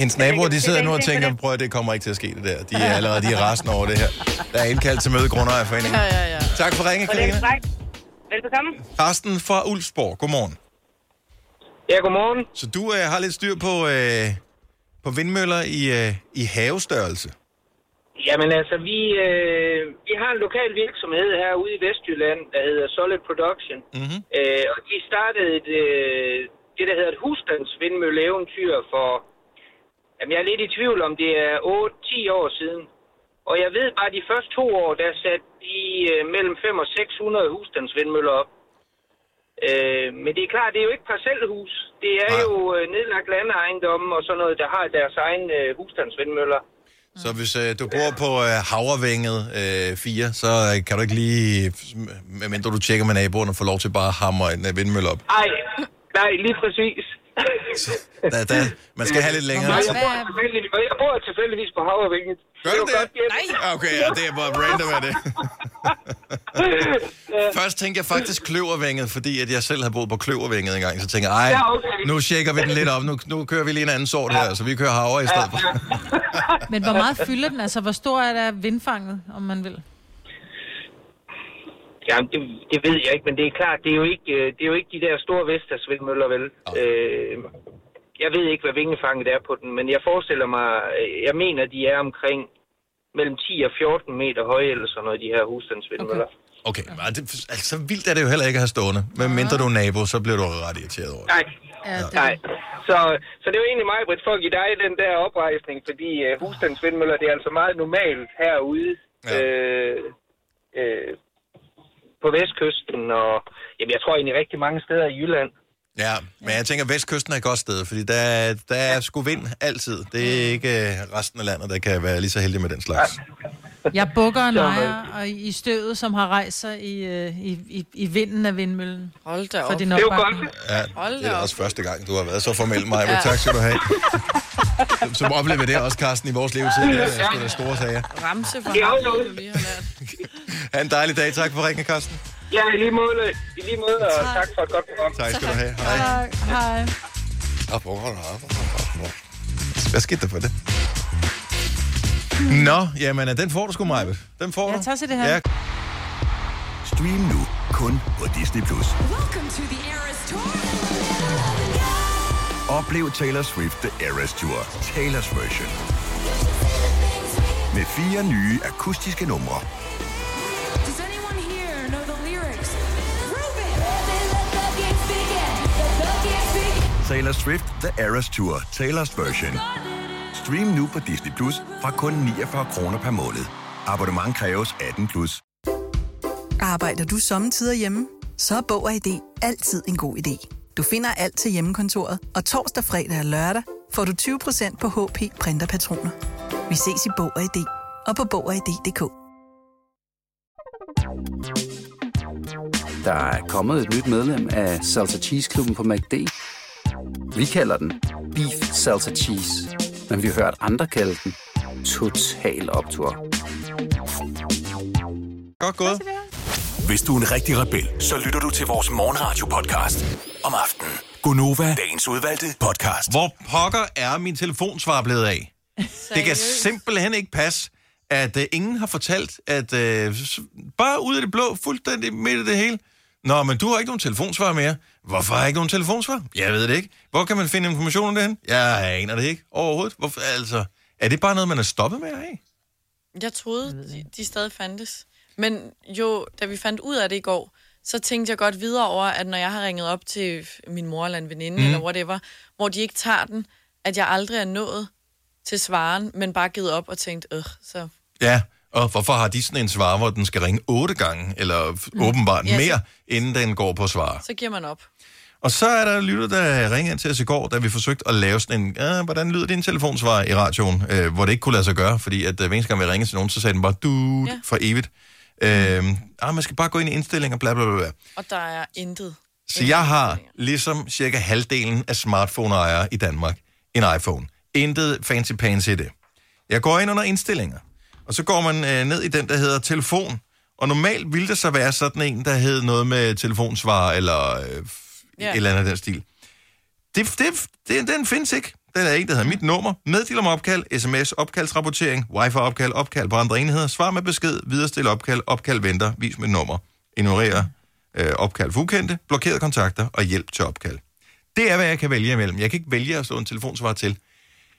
Speaker 1: Hendes naboer, de sidder nu og tænker, prøv at det kommer ikke til at ske det der. De er allerede de er rasende over det her. Der er indkaldt til møde i Grundejerforeningen.
Speaker 8: ja, ja.
Speaker 1: Tak for ringen,
Speaker 8: Og det er
Speaker 1: Karina.
Speaker 8: korrekt. Velbekomme.
Speaker 1: Karsten fra Ulfsborg, godmorgen.
Speaker 11: Ja, godmorgen.
Speaker 1: Så du øh, har lidt styr på, øh, på vindmøller i, øh, i havestørrelse.
Speaker 11: Jamen altså, vi, øh, vi har en lokal virksomhed herude i Vestjylland, der hedder Solid Production.
Speaker 1: Mm-hmm.
Speaker 11: Øh, og de startede et, øh, det, der hedder et husstandsvindmølleeventyr for... Jamen, jeg er lidt i tvivl om det er 8-10 år siden. Og jeg ved bare, at de første to år, der satte de øh, mellem 5 og 600 husstandsvindmøller op. Øh, men det er klart, det er jo ikke parcelhus. Det er jo øh, nedlagt landeejendomme og sådan noget, der har deres egen øh, husstandsvindmøller.
Speaker 1: Så hvis øh, du bor på øh, Havrevænget øh, 4, så øh, kan du ikke lige, medmindre du tjekker med naboerne, få lov til bare at hamre en øh, vindmølle op.
Speaker 11: Nej, nej, lige præcis.
Speaker 1: Da, da, man skal have lidt længere
Speaker 11: Nej,
Speaker 1: tid.
Speaker 11: jeg bor, tilfældigvis, jeg bor tilfældigvis på Havrevinget.
Speaker 1: Gør du det? Nej. Okay, ja, det er bare random af det. Først tænkte jeg faktisk kløvervænget, fordi at jeg selv havde boet på kløvervænget engang. Så tænkte jeg, ej,
Speaker 2: Ja, okay.
Speaker 1: nu tjekker vi den lidt op. Nu, nu kører vi lige en anden sort her, så vi kører havre i stedet for.
Speaker 2: Men hvor meget fylder den? Altså, hvor stor er der vindfanget, om man vil?
Speaker 11: Jamen, det, det ved jeg ikke, men det er klart, det er jo ikke, øh, det er jo ikke de der store Vestas-vindmøller, vel? Øh, jeg ved ikke, hvad vingefanget er på den, men jeg forestiller mig, øh, jeg mener, de er omkring mellem 10 og 14 meter høje, eller sådan noget, de her husstandsvindmøller. Okay.
Speaker 1: Okay, men det, altså, så vildt er det jo heller ikke at have stående. Men mindre du er nabo, så bliver du ret irriteret over det.
Speaker 11: Nej. Nej. Så, så det var egentlig mig, Britt, for at give dig den der oprejsning, fordi øh, husstandsvindmøller, det er altså meget normalt herude ja. øh, øh, på vestkysten, og jamen, jeg tror egentlig rigtig mange steder i Jylland.
Speaker 1: Ja, men jeg tænker, at vestkysten er et godt sted, fordi der, der er sgu vind altid. Det
Speaker 4: Mm.
Speaker 1: er ikke øh, resten af landet, der kan være lige så heldig med den slags.
Speaker 2: Jeg bukker og nejer og i i støvet, som har rejst sig i, øh, i, i, i vinden af vindmøllen.
Speaker 4: Hold da
Speaker 2: For
Speaker 4: op.
Speaker 2: din
Speaker 4: Det er jo
Speaker 2: opbakning.
Speaker 1: Ja,
Speaker 4: Hold
Speaker 1: det er
Speaker 4: da op.
Speaker 1: også første gang, du har været så formel, Maja.
Speaker 4: Ja.
Speaker 1: Ja. Tak skal du have. Som- Som oplever det også, Carsten, i vores levetid. Det er sgu da store sager.
Speaker 4: Ramse for
Speaker 11: Det er
Speaker 4: ham,
Speaker 11: jo
Speaker 4: vi lige har lært.
Speaker 1: Ha' en dejlig dag. Tak for ringen, Carsten.
Speaker 11: Ja, i lige måde, i lige måde og tak. tak for et godt program.
Speaker 1: Tak skal du have. Hej.
Speaker 2: Tak. Hej.
Speaker 1: Op, hvor var der op, hvor var der op. Hvad skete der for det? Nå, jamen, den får du sgu, Maja. Den får du.
Speaker 2: Jeg tager til det her.
Speaker 1: Ja.
Speaker 9: Stream nu kun på Disney+. Plus.
Speaker 12: Welcome to the Eras Tour.
Speaker 9: Oplev Taylor Swift The Eras Tour, Taylor's version. Med fire nye akustiske numre.
Speaker 12: Does anyone here know the lyrics?
Speaker 9: Taylor Swift The Eras Tour, Taylor's version. Stream nu på Disney Plus fra kun 49 kroner per måned. Abonnement kræves 18 plus.
Speaker 13: Arbejder du sommetider hjemme? Så er Bog og ID altid en god idé. Du finder alt til hjemmekontoret, og torsdag, fredag og lørdag får du 20% på HP printerpatroner. Vi ses i Bog og ID og på BogerID.dk.
Speaker 14: Der er kommet et nyt medlem af Salsa Cheese Klubben på MACD. Vi kalder den Beef Salsa Cheese, men vi har hørt andre kalde den Total Optor.
Speaker 1: Godt gået.
Speaker 9: Hvis du er en rigtig rebel, så lytter du til vores morgenradio-podcast om aftenen. Gunova, dagens udvalgte podcast.
Speaker 1: Hvor pokker er min telefonsvar blevet af? Det kan simpelthen ikke passe, at uh, ingen har fortalt, at uh, bare ud af det blå, fuldstændig midt i det hele. Nå, men du har ikke nogen telefonsvar mere. Hvorfor har jeg ikke nogen telefonsvar? Jeg ved det ikke. Hvor kan man finde information om det hen? Jeg aner det ikke overhovedet. Hvorfor, altså, er det bare noget, man er stoppet med at have?
Speaker 4: Jeg troede, de, de stadig fandtes. Men jo, da vi fandt ud af det i går, så tænkte jeg godt videre over, at når jeg har ringet op til min mor eller en veninde
Speaker 15: Mm.
Speaker 4: mm. eller whatever, hvor de ikke tager den, at jeg aldrig er nået til svaren, men bare givet op og tænkt, øh, så...
Speaker 1: Ja, og hvorfor har de sådan en svar, hvor den skal ringe otte gange, eller mm. åbenbart
Speaker 4: Ja, så-
Speaker 1: yes. mere, inden den går på svar?
Speaker 4: Så giver man op.
Speaker 1: Og så er der lytter, der ringede ind til os i går, da vi forsøgte at lave sådan en, "Ah, hvordan lyder din telefonsvar i radioen, øh, hvor det ikke kunne lade sig gøre, fordi at øh, hver eneste gang vi ringede til nogen, så sagde den bare, du
Speaker 4: Ja.
Speaker 1: ja. for evigt. Øh, ah, man skal bare gå ind i indstillinger, bla bla bla. bla.
Speaker 4: Og der er intet.
Speaker 1: Så jeg har, ligesom cirka halvdelen af smartphone-ejere i Danmark, en iPhone. Intet fancy pants i det. Jeg går ind under indstillinger, og så går man øh, ned i den, der hedder telefon. Og normalt ville der så være sådan en, der hed noget med telefonsvar, eller øh,
Speaker 16: Ja.
Speaker 1: yeah. et eller andet af den stil. Det, det, det, den findes ikke. Den er ikke, der hedder mit nummer. Meddel om opkald, sms, opkaldsrapportering, wifi-opkald, opkald på andre enheder, svar med besked, viderestil opkald, opkald venter, vis mit nummer, ignorer øh, opkald for ukendte, blokerede kontakter og hjælp til opkald. Det er, hvad jeg kan vælge imellem. Jeg kan ikke vælge at stå en telefonsvar til.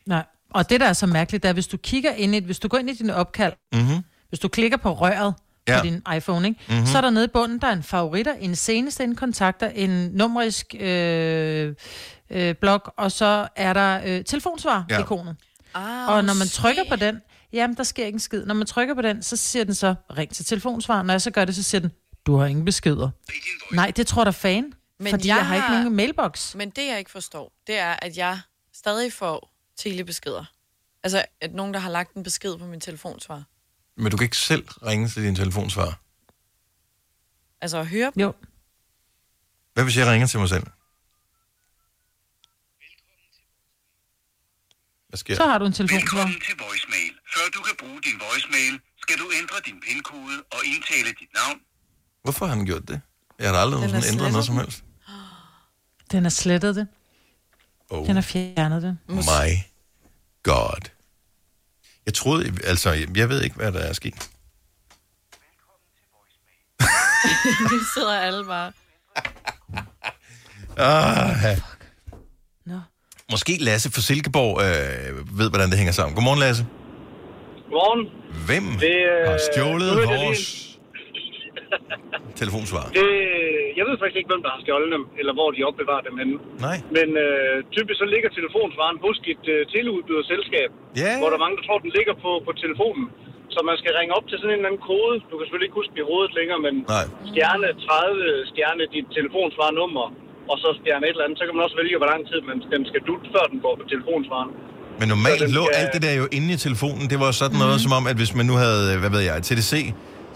Speaker 2: Nej. Og det, der er så mærkeligt, det er, hvis du kigger ind i, hvis du går ind i dine opkald,
Speaker 1: Mm-hmm.
Speaker 2: hvis du klikker på røret ja.
Speaker 1: Ja.
Speaker 2: på din iPhone, ikke? Mm-hmm.
Speaker 1: Mhm.
Speaker 2: så er der nede i bunden, der er en favoritter, en seneste, en kontakter, en numerisk øh, øh, blok, og så er der øh, telefonsvar-ikonet.
Speaker 4: Ah,
Speaker 2: Ja. Og når man trykker på den, jamen der sker ikke en skid. Når man trykker på den, så siger den så, ring til telefonsvar. Når jeg så gør det, så siger den, du har ingen beskeder. Nej, det tror der fan, men fordi jeg, jeg har ikke nogen mailbox.
Speaker 4: Men det, jeg ikke forstår, det er, at jeg stadig får telebeskeder. Altså, at nogen, der har lagt en besked på min telefonsvar.
Speaker 1: Men du kan ikke selv ringe til din telefonsvar.
Speaker 4: Altså, at høre dem.
Speaker 2: Jo.
Speaker 1: Hvad hvis jeg ringer til mig selv? Hvad sker
Speaker 2: Så har du en telefonsvar.
Speaker 17: Velkommen til voicemail. Før du kan bruge din voicemail, skal du ændre din pindkode og indtale dit navn.
Speaker 1: Hvorfor har han gjort det? Jeg har da aldrig
Speaker 2: Den er
Speaker 1: nogensinde ændret
Speaker 2: slettet
Speaker 1: noget som
Speaker 2: den.
Speaker 1: helst.
Speaker 2: Den har slettet det.
Speaker 1: Oh.
Speaker 2: Den har fjernet det.
Speaker 1: My God. Jeg troede, altså, jeg, jeg ved ikke, hvad der er sket.
Speaker 4: det sidder alle bare.
Speaker 1: Ah,
Speaker 2: Nå.
Speaker 1: Måske Lasse fra Silkeborg øh, ved, hvordan det hænger sammen. Godmorgen, Lasse.
Speaker 18: Godmorgen.
Speaker 1: Hvem
Speaker 18: Det, øh,
Speaker 1: har
Speaker 18: nu er
Speaker 1: stjålet
Speaker 18: det
Speaker 1: vores telefonsvar?
Speaker 18: Det, jeg ved faktisk ikke, hvem der har stjålet dem, eller hvor de opbevarer dem henne.
Speaker 1: Nej.
Speaker 18: Men øh, typisk så ligger telefonsvaren hos et øh, teleudbyderselskab,
Speaker 1: Ja.
Speaker 18: hvor der er mange, der tror, den ligger på, på telefonen. Så man skal ringe op til sådan en eller anden kode. Du kan selvfølgelig ikke huske den i hovedet længere, men
Speaker 1: Nej.
Speaker 18: stjerne 30, stjerne dit telefonsvarnummer, og så stjerne et eller andet. Så kan man også vælge, hvor lang tid man, den skal dutte, før den går på telefonsvaren.
Speaker 1: Men normalt lå alt det der jo inde i telefonen. Det var sådan
Speaker 18: Mhm.
Speaker 1: noget, som om, at hvis man nu havde, øh, hvad ved jeg, TDC,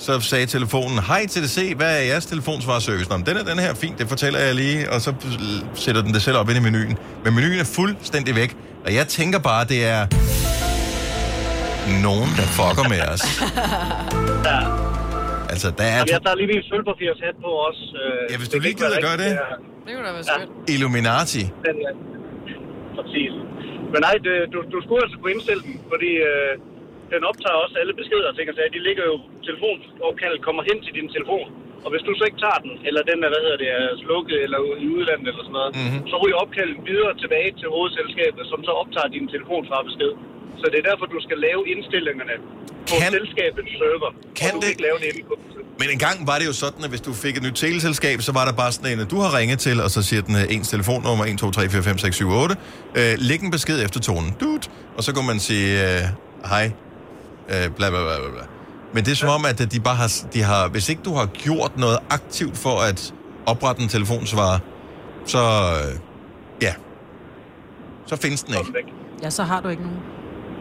Speaker 1: så sagde telefonen, hej TDC, hvad er jeres telefonsvarservice? Nå, men den er den her, fint, det fortæller jeg lige, og så øh, sætter den det selv op ind i menuen. Men menuen er fuldstændig væk, og jeg tænker bare, det er nogen, der fucker med os.
Speaker 18: Ja.
Speaker 1: Altså, der er
Speaker 18: Jamen, jeg tager lige min sølvpapirshat på også. Øh,
Speaker 1: Ja, hvis du lige gider gøre det.
Speaker 4: Det kunne da være skønt.
Speaker 1: Illuminati.
Speaker 18: Den, ja. Præcis. Men nej, det, du, du skulle altså kunne indstille den, fordi øh, den optager også alle beskeder og ting og sager. De ligger jo, telefonopkaldet kommer hen til din telefon. Og hvis du så ikke tager den, eller den er, hvad hedder det, er slukket eller ude i udlandet eller sådan noget, mm-hmm. så ryger opkaldet videre tilbage til hovedselskabet, som så optager din telefonsvarbesked. Så det er derfor, du skal lave indstillingerne på kan, selskabets server. Kan og du det? ikke lave det inde på
Speaker 1: Men engang var det jo sådan, at hvis du fik et nyt teleselskab, så var der bare sådan en, at du har ringet til, og så siger den øh, ens telefonnummer, 1, 2, 3, 4, 5, 6, 7, 8. Øh, læg en besked efter tonen. Dut. Og så kunne man sige, øh, hej, øh, bla, bla, bla, bla, bla. Men det er som om, at øh, de bare har, de har, hvis ikke du har gjort noget aktivt for at oprette en telefonsvarer, så, øh, ja, så findes den ikke.
Speaker 2: Ja, så har du ikke nogen.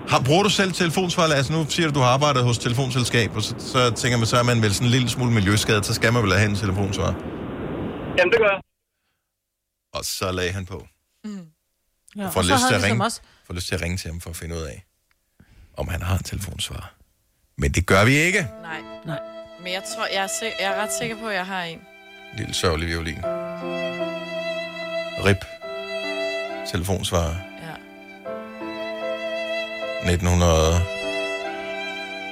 Speaker 1: Har, bruger du selv telefonsvar? Altså nu siger du, du har arbejdet hos telefonselskab, og så, så tænker man, så er man vel sådan en lille smule miljøskadet, så skal man vel have en telefonsvar.
Speaker 18: Jamen, det gør jeg.
Speaker 1: Og så lagde han på.
Speaker 2: Ja,
Speaker 1: får
Speaker 2: og så
Speaker 1: lyst
Speaker 2: havde vi som
Speaker 1: til at
Speaker 4: Ligesom
Speaker 1: ringe.
Speaker 2: Også,
Speaker 1: Får lyst til at ringe til ham for at finde ud af, om han har en telefonsvar. Men det gør vi ikke.
Speaker 4: Nej.
Speaker 2: Nej.
Speaker 4: Men jeg tror, jeg er, sik- jeg er ret sikker på, at jeg har en.
Speaker 1: Lille sørgelig violin. Rip. Telefonsvarer.
Speaker 4: Ja.
Speaker 1: 1900.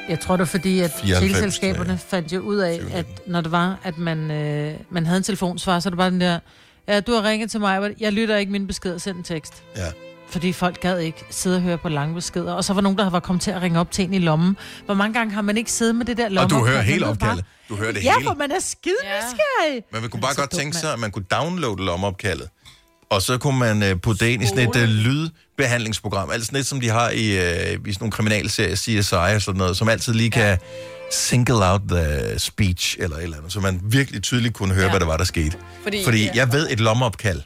Speaker 2: jeg tror det var fordi, at
Speaker 1: 94,
Speaker 2: teleselskaberne fandt jo ud af, at når det var, at man, øh, man havde en telefonsvar, så er det bare den der, ja, du har ringet til mig, jeg lytter ikke min besked og send en tekst.
Speaker 1: Ja.
Speaker 2: Fordi folk gad ikke sidde og høre på lange beskeder. Og så var nogen, der var kommet til at ringe op til en i lommen. Hvor mange gange har man ikke siddet med det der lomme?
Speaker 1: Og du hører hele opkaldet. Du hører det
Speaker 2: ja,
Speaker 1: hele.
Speaker 2: for man er skide nysgerrig.
Speaker 1: Men man kunne bare godt tænke sig, at man kunne downloade lommeopkaldet. Og så kunne man øh, putte det ind i sådan et øh, lydbehandlingsprogram. Altså sådan et, som de har i, øh, i sådan nogle kriminalserier, CSI og sådan noget, som altid lige kan single out the speech eller et eller andet. Så man virkelig tydeligt kunne høre, ja. hvad der var, der skete.
Speaker 4: Fordi-
Speaker 1: Fordi, Fordi
Speaker 4: Ja.
Speaker 1: jeg ved et lommeopkald.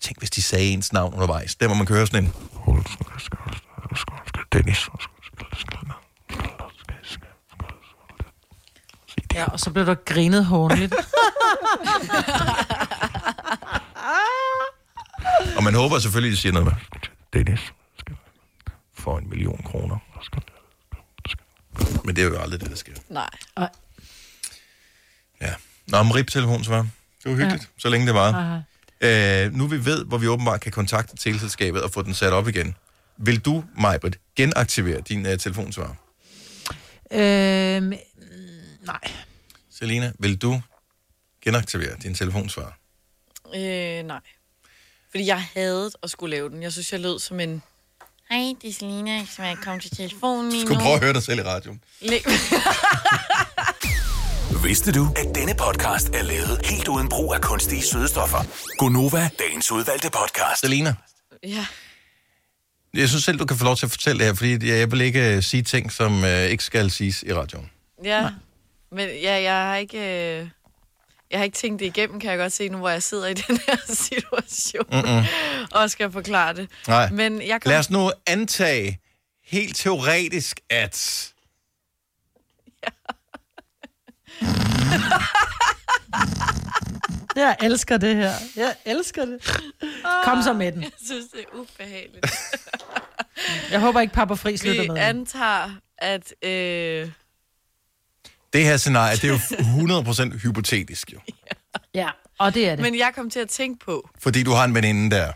Speaker 1: Tænk, hvis de sagde ens navn undervejs. Der, hvor man kan høre sådan en... Dennis.
Speaker 2: Ja, og så blev der grinet håndligt.
Speaker 1: Og man håber selvfølgelig, at de siger noget med... Dennis skal få en million kroner. Men det er jo aldrig det, der sker.
Speaker 4: Nej.
Speaker 1: Nå, om rip-telefon, svar. Det var hyggeligt, ja. så længe det var.
Speaker 2: Aha.
Speaker 1: Øh, nu vi ved, hvor vi åbenbart kan kontakte teleselskabet og få den sat op igen. Vil du, Majbrit, genaktivere din uh, telefonsvar?
Speaker 2: øhm, nej.
Speaker 1: Selina, vil du genaktivere din telefonsvar?
Speaker 4: Øh, nej. Fordi jeg havde at skulle lave den. Jeg synes, jeg lød som en... Hej, det er Selina. Som jeg kom til telefonen lige
Speaker 1: Du
Speaker 4: nu.
Speaker 1: skulle prøve at høre dig selv i radioen.
Speaker 9: Vidste du, at denne podcast er lavet helt uden brug af kunstige sødestoffer? Gonova, dagens udvalgte podcast.
Speaker 1: Selina,
Speaker 4: ja.
Speaker 1: jeg synes selv, du kan få lov til at fortælle det her, fordi jeg jeg vil ikke uh, sige ting, som uh, ikke skal siges i radioen.
Speaker 4: Ja, men ja, jeg har ikke... Øh... Jeg har ikke tænkt det igennem, kan jeg godt se nu, hvor jeg sidder i den her situation
Speaker 1: Mm-mm.
Speaker 4: og skal forklare det.
Speaker 1: Nej.
Speaker 4: Men jeg kom...
Speaker 1: Lad os nu antage helt teoretisk, at...
Speaker 2: Jeg elsker det her. Jeg elsker det. Kom så med den.
Speaker 4: Jeg synes, det er ubehageligt.
Speaker 2: Jeg håber ikke, Papa Friis lytter
Speaker 4: Vi
Speaker 2: med.
Speaker 4: antager, at... Øh...
Speaker 1: Det her scenarie, det er jo 100% hypotetisk, jo.
Speaker 2: Ja, og det er det.
Speaker 4: Men jeg kom til at tænke på,
Speaker 1: Fordi du har en veninde der.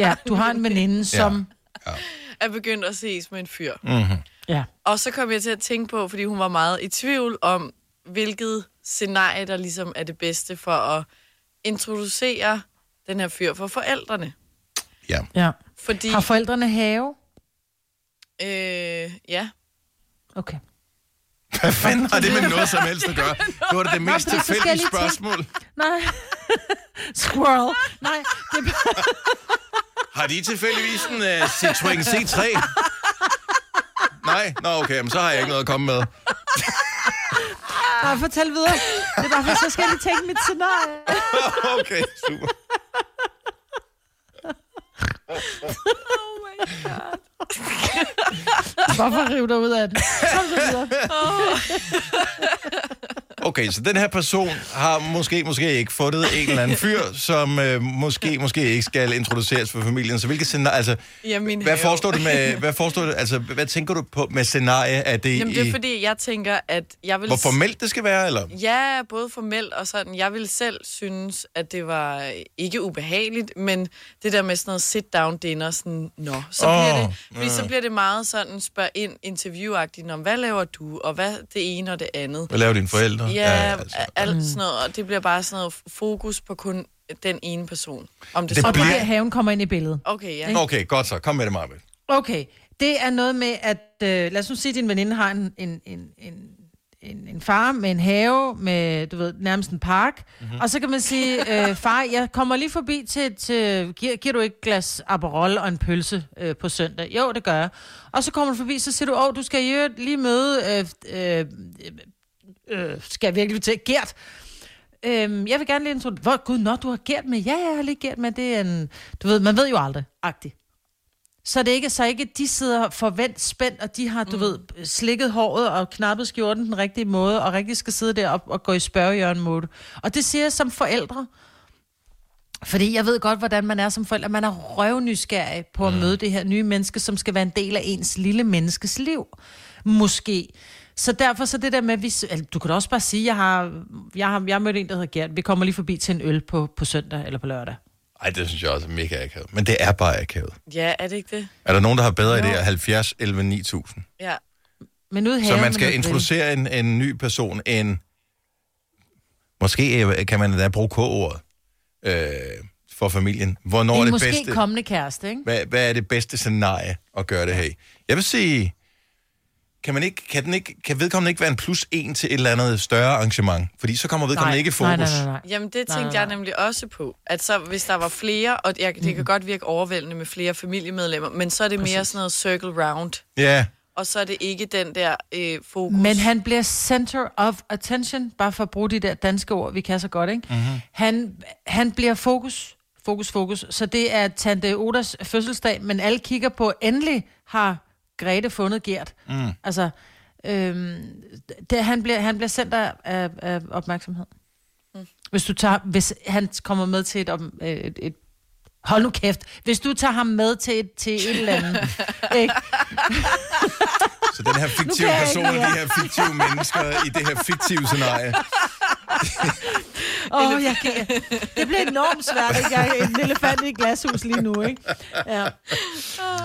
Speaker 2: Ja, du har en veninde, som...
Speaker 4: at begynde at ses med en fyr.
Speaker 1: Mm-hmm.
Speaker 2: Ja.
Speaker 4: Og så kom jeg til at tænke på, fordi hun var meget i tvivl om, hvilket scenarie, der ligesom er det bedste for at introducere den her fyr for forældrene.
Speaker 2: ja.
Speaker 4: Fordi,
Speaker 2: Har forældrene have?
Speaker 4: øh, ja.
Speaker 2: Okay.
Speaker 1: Hvad fanden har det med noget som helst at gøre? Det var da det
Speaker 2: Nå,
Speaker 1: mest
Speaker 2: fordi så skal jeg
Speaker 1: tilfældige
Speaker 2: lige tænke-
Speaker 1: spørgsmål.
Speaker 2: Nej. Squirrel. Nej, det er bare...
Speaker 1: Har de tilfældigvis en uh, Citroën C3? Nej? Nå, okay, men så har jeg ikke noget at komme med.
Speaker 2: Nej, fortæl videre. Det er derfor, så skal jeg lige tænke mit scenarie.
Speaker 4: Oh
Speaker 1: okay, super.
Speaker 2: Hvorfor rive dig ud af den? Kom så videre.
Speaker 1: Okay, så den her person har måske, måske ikke fundet en eller anden fyr, som uh, måske, måske ikke skal introduceres for familien. Så hvilke scenarie... Altså,
Speaker 4: Ja, min
Speaker 1: hvad
Speaker 4: have.
Speaker 1: forstår du med... Hvad, forstår du, altså, hvad tænker du på med scenarie? Er det,
Speaker 4: Jamen, det er
Speaker 1: i-
Speaker 4: fordi, jeg tænker, at jeg vil...
Speaker 1: Hvor formelt det skal være, eller?
Speaker 4: Ja, både formelt og sådan. Jeg ville selv synes, at det var øh, ikke ubehageligt, men det der med sådan noget sit-down dinner, sådan, nå, så, oh, bliver
Speaker 1: Åh, mm.
Speaker 4: det, fordi så
Speaker 1: ja.
Speaker 4: bliver det meget sådan spørg ind interviewagtigt om, hvad laver du, og hvad det ene og det andet.
Speaker 1: Hvad laver dine forældre?
Speaker 4: Ja,
Speaker 1: Ja,
Speaker 4: ja altså. alt sådan noget, og det bliver bare sådan noget fokus på kun den ene person. Om det,
Speaker 1: Det
Speaker 4: så
Speaker 2: Og det er
Speaker 1: bliver-
Speaker 2: der, haven kommer ind i billedet.
Speaker 4: Okay, ja.
Speaker 1: Okay, godt så. Kom med det, Marvind.
Speaker 2: Okay, det er noget med, at øh, lad os nu sige, at din veninde har en, en, en, en, en, en far med en have, med, du ved, nærmest en park. Mm-hmm. Og så kan man sige, øh, far, jeg kommer lige forbi til, til giver, giver du ikke et glas Aperol og en pølse øh, på søndag? Jo, det gør jeg. Og så kommer du forbi, så siger du, åh, du skal i øvrigt lige møde, øh, øh, øh, skal jeg virkelig til, Gert. Øhm, jeg vil gerne lige introducere, hvor gud, når du har Gert med, ja, jeg har lige Gert med, det er en, du ved, man ved jo aldrig, agtigt. Så det ikke, så ikke de sidder forvent spændt, og de har, du mm. ved, slikket håret og knappet skjorten den rigtige måde, og rigtig skal sidde der og, og gå i spørgejørn mode. Og det siger jeg som forældre. Fordi jeg ved godt, hvordan man er som forældre. Man er røvnysgerrig på
Speaker 1: Mm.
Speaker 2: at møde det her nye menneske, som skal være en del af ens lille menneskes liv. Måske. Så derfor så det der med, at vi, s- altså, du kan da også bare sige, jeg har, jeg har, jeg har mødt en, der hedder Gert. Vi kommer lige forbi til en øl på, på søndag eller på lørdag.
Speaker 1: Ej, det synes jeg også er mega akavet. Men det er bare akavet.
Speaker 4: Ja, er det ikke det?
Speaker 1: Er der nogen, der har bedre idéer? 70, 11, 9000.
Speaker 4: Ja.
Speaker 2: Men ud
Speaker 1: Så man skal introducere en, en ny person, en... Måske øh, kan man da bruge K-ordet øh, for familien. Hvornår er
Speaker 2: en
Speaker 1: det
Speaker 2: måske
Speaker 1: bedste?
Speaker 2: kommende kæreste, ikke?
Speaker 1: Hvad, hvad er det bedste scenarie at gøre det her i? Jeg vil sige, kan, man ikke, kan, den ikke, kan vedkommende ikke være en plus en til et eller andet større arrangement? Fordi så kommer vedkommende
Speaker 2: Nej.
Speaker 1: ikke i fokus.
Speaker 4: Jamen, det tænkte
Speaker 2: Nej, nej, Mm.
Speaker 4: jeg nemlig også på. At så, hvis der var flere, og jeg, det kan godt virke overvældende med flere familiemedlemmer, men så er det mere sådan noget circle round.
Speaker 1: Ja,
Speaker 4: Og så er det ikke den der øh, fokus.
Speaker 2: Men han bliver center of attention, bare for at bruge de der danske ord, vi kan så godt,
Speaker 9: Mm.
Speaker 2: ikke?
Speaker 4: Mhm.
Speaker 2: Han, han bliver fokus, fokus, fokus. Så det er Tante Odas fødselsdag, men alle kigger på, endelig har Grete fundet Gert.
Speaker 1: Mm.
Speaker 2: Altså, øhm, det, han, bliver, han bliver center af, af opmærksomhed. Mm. Hvis du tager, hvis han kommer med til et, om- øh, et, et Hold nu kæft. Hvis du tager ham med til et, til et eller andet, ikke?
Speaker 1: så den her fiktive
Speaker 2: kan jeg
Speaker 1: person og
Speaker 2: ikke
Speaker 1: de
Speaker 2: mere.
Speaker 1: her fiktive mennesker Øh, i det her fiktive scenarie.
Speaker 2: Åh, oh, jeg kan... Det bliver enormt svært, ikke? Jeg er en elefant i et glashus lige nu, ikke? Ja. Mm.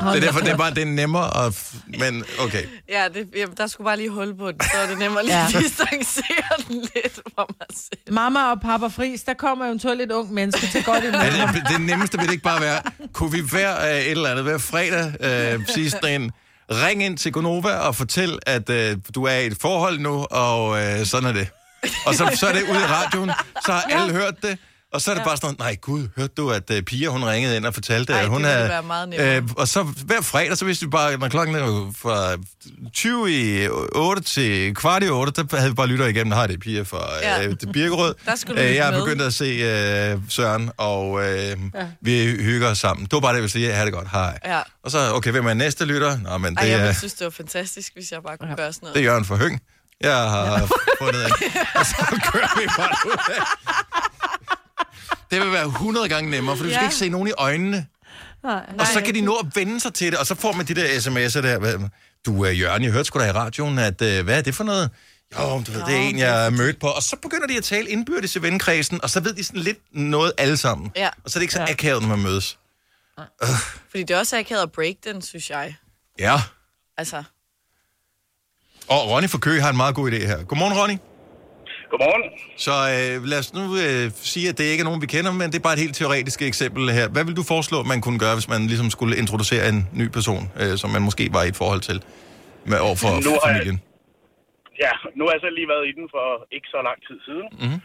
Speaker 1: Det er derfor, det er bare det er nemmere at... f- Men okay.
Speaker 4: Ja, det, jamen, der skulle bare lige hul på den, så er det nemmere lige
Speaker 2: Ja.
Speaker 4: at distancere den lidt fra mig selv.
Speaker 2: Mamma og pappa fris, der kommer eventuelt et ung menneske til godt imod.
Speaker 1: Er det, det nemmeste vil det ikke bare være, kunne vi hver øh, et eller andet, hver fredag øh, sidste en, ring ind til Gonova og fortæl, at øh, du er i et forhold nu, og øh, sådan er det. Og så, så er det ude i radioen, så har alle hørt det, og så er det bare sådan noget, nej gud, hørte du, at øh, Pia hun ringede ind og fortalte,
Speaker 4: Ej,
Speaker 1: at
Speaker 4: det
Speaker 1: hun
Speaker 4: ville
Speaker 1: havde... Øh,
Speaker 4: være meget nemmere.
Speaker 1: og så hver fredag, så vidste vi bare, når klokken er fra 20 i 8 til kvart i 8, der havde vi bare lytter igennem, har det er Pia fra
Speaker 4: Ja.
Speaker 1: øh, Birkerød.
Speaker 4: Der skulle du
Speaker 1: Øh,
Speaker 4: lytte
Speaker 1: Jeg er
Speaker 4: med.
Speaker 1: begyndt at se øh, Søren, og øh,
Speaker 4: Ja.
Speaker 1: vi hygger os sammen. Det var bare det, jeg ville sige. Ha' det godt. Hej.
Speaker 4: Ja.
Speaker 1: Og så, okay, hvem er næste lytter? Nå, men det,
Speaker 4: Ej, jeg
Speaker 1: er,
Speaker 4: ville synes, det var fantastisk, hvis jeg bare kunne gøre sådan noget.
Speaker 1: det er Jørgen for Høng. Jeg har fundet en. Og Altså, så kører vi bare ud af. Det vil være 100 gange nemmere, for du skal
Speaker 2: Ja.
Speaker 1: ikke se nogen i øjnene.
Speaker 2: Nej.
Speaker 1: Og så kan de nå at vende sig til det, og så får man de der sms'er der. hvad- Du, øh, Jørgen, jeg hørte sgu da i radioen, at øh, hvad er det for noget? Jo, du ved, det er en, jeg mødte på. Og så begynder de at tale indbyrdes i vennekredsen, og så ved de sådan lidt noget alle sammen.
Speaker 4: Ja.
Speaker 1: Og så er det ikke så akavet, når man mødes.
Speaker 4: Fordi det er også akavet at break den, synes jeg.
Speaker 1: Ja.
Speaker 4: Altså,
Speaker 1: Og Ronny fra Køge har en meget god idé her. Godmorgen, Ronny.
Speaker 15: Godmorgen.
Speaker 1: Så øh, lad os nu øh, sige, at det ikke er nogen, vi kender, men det er bare et helt teoretisk eksempel her. Hvad vil du foreslå, man kunne gøre, hvis man ligesom skulle introducere en ny person, øh, som man måske var i et forhold til, med over for
Speaker 15: Nu har jeg-
Speaker 1: familien?
Speaker 15: Ja, nu har jeg så lige været i den for ikke så lang tid siden.
Speaker 1: Mhm.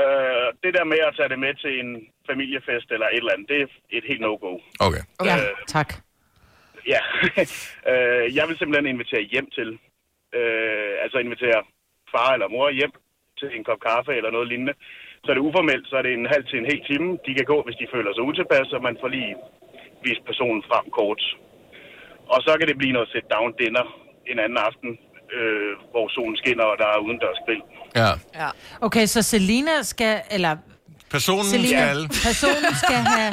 Speaker 15: Øh, det der med at tage det med til en familiefest eller et eller andet, det er et helt no-go.
Speaker 1: Okay.
Speaker 2: Ja,
Speaker 15: Øh,
Speaker 2: tak.
Speaker 15: ja. øh, jeg vil simpelthen invitere hjem til. Øh, altså invitere far eller mor hjem til en kop kaffe eller noget lignende. Så er det uformelt, så er det en halv til en hel time. De kan gå, hvis de føler sig utilpas, og man får lige vist personen frem kort. Og så kan det blive noget sit-down dinner en anden aften, øh, hvor solen skinner, og der er udendørs grill.
Speaker 1: Ja.
Speaker 4: Ja.
Speaker 2: Okay, så Selina skal, eller
Speaker 1: Personen
Speaker 2: Selina,
Speaker 1: skal...
Speaker 2: personen skal have...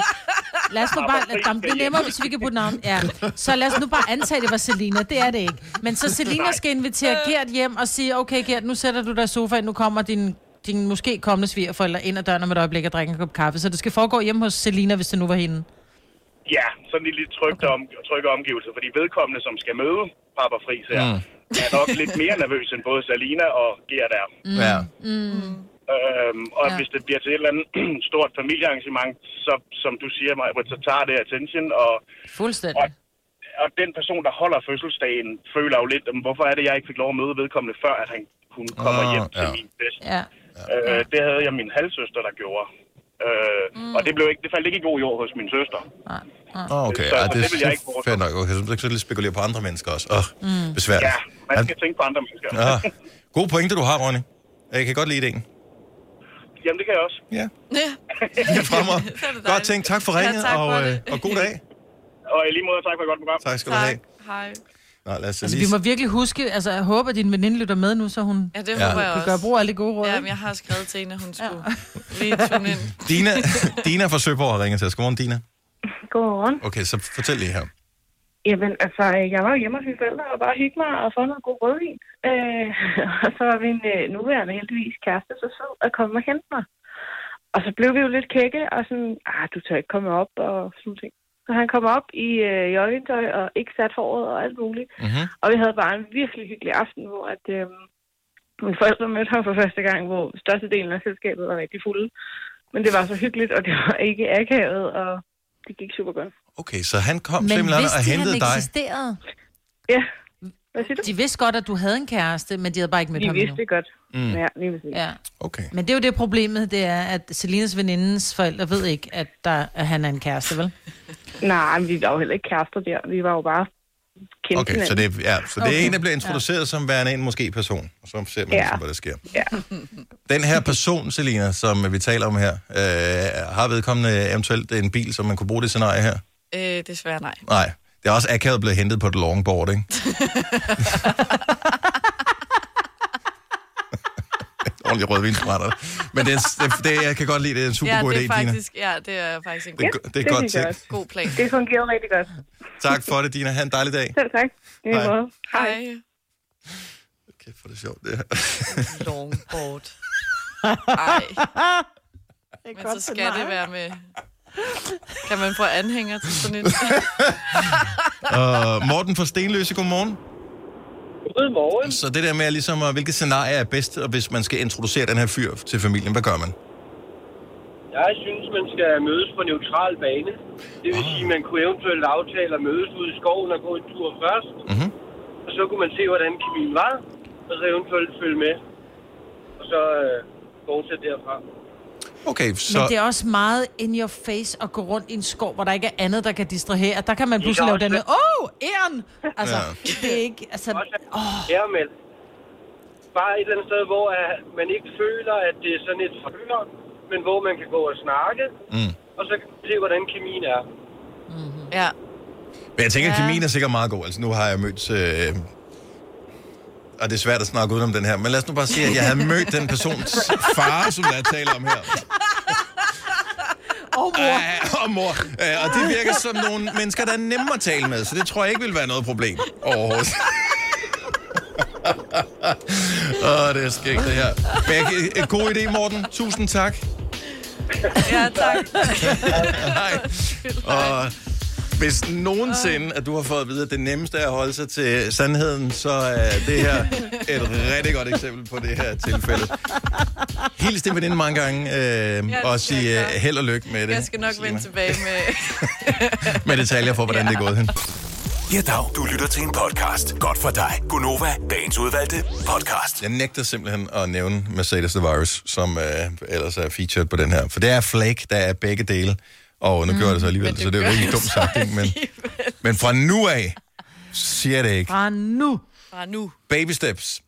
Speaker 2: Lad os nu bare... Jamen, det er nemmere, hvis vi kan putte navn. Ja. Så lad os nu bare antage, det var Selina. Det er det ikke. Men så Selina skal invitere Gert hjem og sige, okay Gert, nu sætter du dig i sofaen, nu kommer din, din måske kommende svigerforældre ind ad døren om et øjeblik og drikker en kop kaffe. Så det skal foregå hjemme hos Selina, hvis det nu var hende.
Speaker 15: Ja, sådan en lidt trygte, om, trygge omgivelser, fordi vedkommende, som skal møde Papa Friis her,
Speaker 1: Mm.
Speaker 15: er nok lidt mere nervøs end både Salina og Gert er.
Speaker 1: Ja.
Speaker 15: Mm. Øhm,
Speaker 19: Ja.
Speaker 15: og ja. hvis det bliver til et eller andet stort familiearrangement, så, som du siger, Maja, så tager det attention, og,
Speaker 2: Fuldstændig.
Speaker 15: og, og den person, der holder fødselsdagen, føler jo lidt, "Jamen, hvorfor er det, jeg ikke fik lov at møde vedkommende, før at han kunne komme
Speaker 1: Ah,
Speaker 15: hjem til
Speaker 1: ja.
Speaker 15: min fest.
Speaker 2: Ja.
Speaker 15: Øh, det havde jeg min halvsøster, der gjorde. Øh, mm. Og det, blev ikke, det faldt ikke i god jord hos min søster.
Speaker 1: Oh, okay,
Speaker 15: Så-
Speaker 1: ja,
Speaker 15: og
Speaker 1: det,
Speaker 15: det vil jeg ikke
Speaker 1: er fair nok. Okay, så kan jeg lige spekulere på andre mennesker også. Åh, oh,
Speaker 15: Mm.
Speaker 1: besværligt.
Speaker 15: Ja, man skal tænke på andre mennesker.
Speaker 1: Ja. Gode pointe, du har, Ronny. Jeg kan godt lide ideen.
Speaker 15: Jamen, det kan jeg også.
Speaker 1: Ja.
Speaker 4: Ja.
Speaker 1: Fremad. Godt tænkt. Tak for ringet,
Speaker 15: tak for
Speaker 1: og, øh,
Speaker 15: det.
Speaker 1: og god dag.
Speaker 7: og i lige måde, tak for et godt program.
Speaker 1: Tak skal du have.
Speaker 4: Hej.
Speaker 1: Nå, lad os
Speaker 2: Altså,
Speaker 1: altså,
Speaker 2: vi
Speaker 1: lige...
Speaker 2: må virkelig huske, altså jeg håber, at din veninde lytter med nu, så hun
Speaker 4: Ja, det
Speaker 1: Ja.
Speaker 4: håber jeg
Speaker 1: Kan
Speaker 4: også.
Speaker 2: gør brug af alle de gode råd.
Speaker 4: Ja, men jeg har skrevet til hende, at hun skulle lige tune ind.
Speaker 1: Dina, Dina fra Søborg har ringet til os. Godmorgen, Dina.
Speaker 15: Godmorgen.
Speaker 1: Okay, så fortæl lige her.
Speaker 15: Jamen, altså, jeg var jo hjemme hos mine forældre og bare hyggede mig og få noget god rødvin. Øh, og så var min øh, nuværende heldigvis kæreste så sød at komme og hente mig. Og så blev vi jo lidt kække og sådan, ah, du tør ikke komme op og sådan nogle ting. Så han kom op i øh, joggingtøj og ikke sat håret og alt muligt.
Speaker 1: Mm-hmm.
Speaker 15: Og vi havde bare en virkelig hyggelig aften, hvor at, øh, mine forældre mødte ham for første gang, hvor størstedelen af selskabet var rigtig fulde. Men det var så hyggeligt, og det var ikke akavet, og det gik super godt.
Speaker 1: Okay, så han kom simpelthen og hentede dig.
Speaker 2: eksisterede?
Speaker 15: Ja.
Speaker 2: Hvad siger du? De vidste godt, at du havde en kæreste, men de havde bare ikke mødt
Speaker 15: De
Speaker 2: ham
Speaker 15: vidste
Speaker 2: endnu.
Speaker 15: det godt.
Speaker 1: Mm.
Speaker 15: Ja, lige præcis.
Speaker 2: Ja.
Speaker 1: Okay.
Speaker 2: Men det er jo det problemet, det er, at Selinas venindens forældre ved ikke, at, der, at han er en kæreste, vel?
Speaker 15: Nej, men vi var jo heller ikke kærester der. Vi var jo bare kendt
Speaker 1: Okay, så det, er- ja, så det okay.
Speaker 15: Okay.
Speaker 1: er en, der bliver introduceret ja. som værende en måske person. Og så ser man,
Speaker 15: Ja.
Speaker 1: ja. ligesom, hvad der sker.
Speaker 15: Ja.
Speaker 1: Den her person, Selina, som vi taler om her, øh, har vedkommende eventuelt en bil, som man kunne bruge det scenarie her?
Speaker 4: Øh, desværre nej.
Speaker 1: Nej. Det er også akavet blevet hentet på et longboard, ikke? Ordentlig rødvinsbrænder. Men det, er, det, det, jeg kan godt lide, det er en super
Speaker 4: ja,
Speaker 1: god idé,
Speaker 4: det er
Speaker 1: Dina.
Speaker 4: faktisk, Ja, det er faktisk en
Speaker 1: Det er go- det er godt tænkt.
Speaker 4: God plan.
Speaker 15: Det fungerede rigtig godt.
Speaker 1: Tak for det, Dina. Ha' en dejlig dag.
Speaker 15: Selv tak. I lige
Speaker 1: Hej.
Speaker 15: måde.
Speaker 4: Hej.
Speaker 1: Kæft, for det er sjovt, det her.
Speaker 4: Longboard. Ej. Men
Speaker 2: godt
Speaker 4: så skal
Speaker 2: scenarie.
Speaker 4: det være med... Kan man få anhænger til sådan en?
Speaker 1: Og Morten fra Stenløse, godmorgen.
Speaker 7: Godmorgen.
Speaker 1: Så det der med, at ligesom, at hvilket scenarie er bedst, og hvis man skal introducere den her fyr til familien, hvad gør man?
Speaker 16: Jeg synes, man skal mødes på neutral bane. Det vil
Speaker 1: Ah.
Speaker 16: sige, man kunne eventuelt aftale at mødes ude i skoven og gå en tur først.
Speaker 1: Mhm.
Speaker 16: Og så kunne man se, hvordan kemien var, og så eventuelt følge med. Og så øh, fortsætte derfra.
Speaker 1: Okay,
Speaker 2: Så... Men det er
Speaker 1: så...
Speaker 2: også meget in your face at gå rundt i en skov, hvor der ikke er andet, der kan distrahere. Der kan man
Speaker 16: Det
Speaker 2: pludselig
Speaker 16: kan
Speaker 2: lave
Speaker 16: også
Speaker 2: den med, åh, oh, æren! Altså,
Speaker 16: Ja.
Speaker 2: ja. det er ikke, altså, åh,
Speaker 16: Ja, men bare et eller andet sted, hvor øh, man ikke føler, at det er sådan et forhør, men hvor man kan gå og snakke,
Speaker 1: Mm.
Speaker 16: og så kan man se, hvordan kemien er.
Speaker 4: Ja.
Speaker 1: Men jeg tænker, at
Speaker 4: Ja.
Speaker 1: kemien er sikkert meget god. Altså, nu har jeg mødt... Øh... Og det er svært at snakke udenom den her, men lad os nu bare sige, at jeg havde mødt den persons far, som jeg taler om her.
Speaker 2: Og
Speaker 1: mor. og mor. Øh, og det virker som nogle mennesker, der er nemme at tale med, så det tror jeg ikke vil være noget problem overhovedet. Åh, oh, det er skægt, det her. Men jeg- en god idé, Morten. Tusind tak.
Speaker 4: ja, tak.
Speaker 1: Hej. Og hvis nogensinde, at du har fået at vide, at det nemmeste er at holde sig til sandheden, så er det her et rigtig godt eksempel på det her tilfælde. Hils din veninde mange gange, øh, og
Speaker 4: skal jeg
Speaker 1: sige øh,
Speaker 4: gøre.
Speaker 1: held og lykke med det.
Speaker 4: Jeg skal nok vende tilbage med...
Speaker 1: Med detaljer for, hvordan det er gået hen.
Speaker 9: Ja, dag. Du lytter til en podcast. Godt for dig. Gunova, dagens udvalgte podcast.
Speaker 1: Jeg nægter simpelthen at nævne Mercedes The Virus, som øh, ellers er featured på den her. For det er flake, der er begge dele. Og nu mm, gør jeg det så alligevel, så det er jo ikke dumt sagt. ikke? Men, men fra nu af siger jeg det ikke.
Speaker 2: fra nu.
Speaker 4: Fra nu.
Speaker 1: baby steps.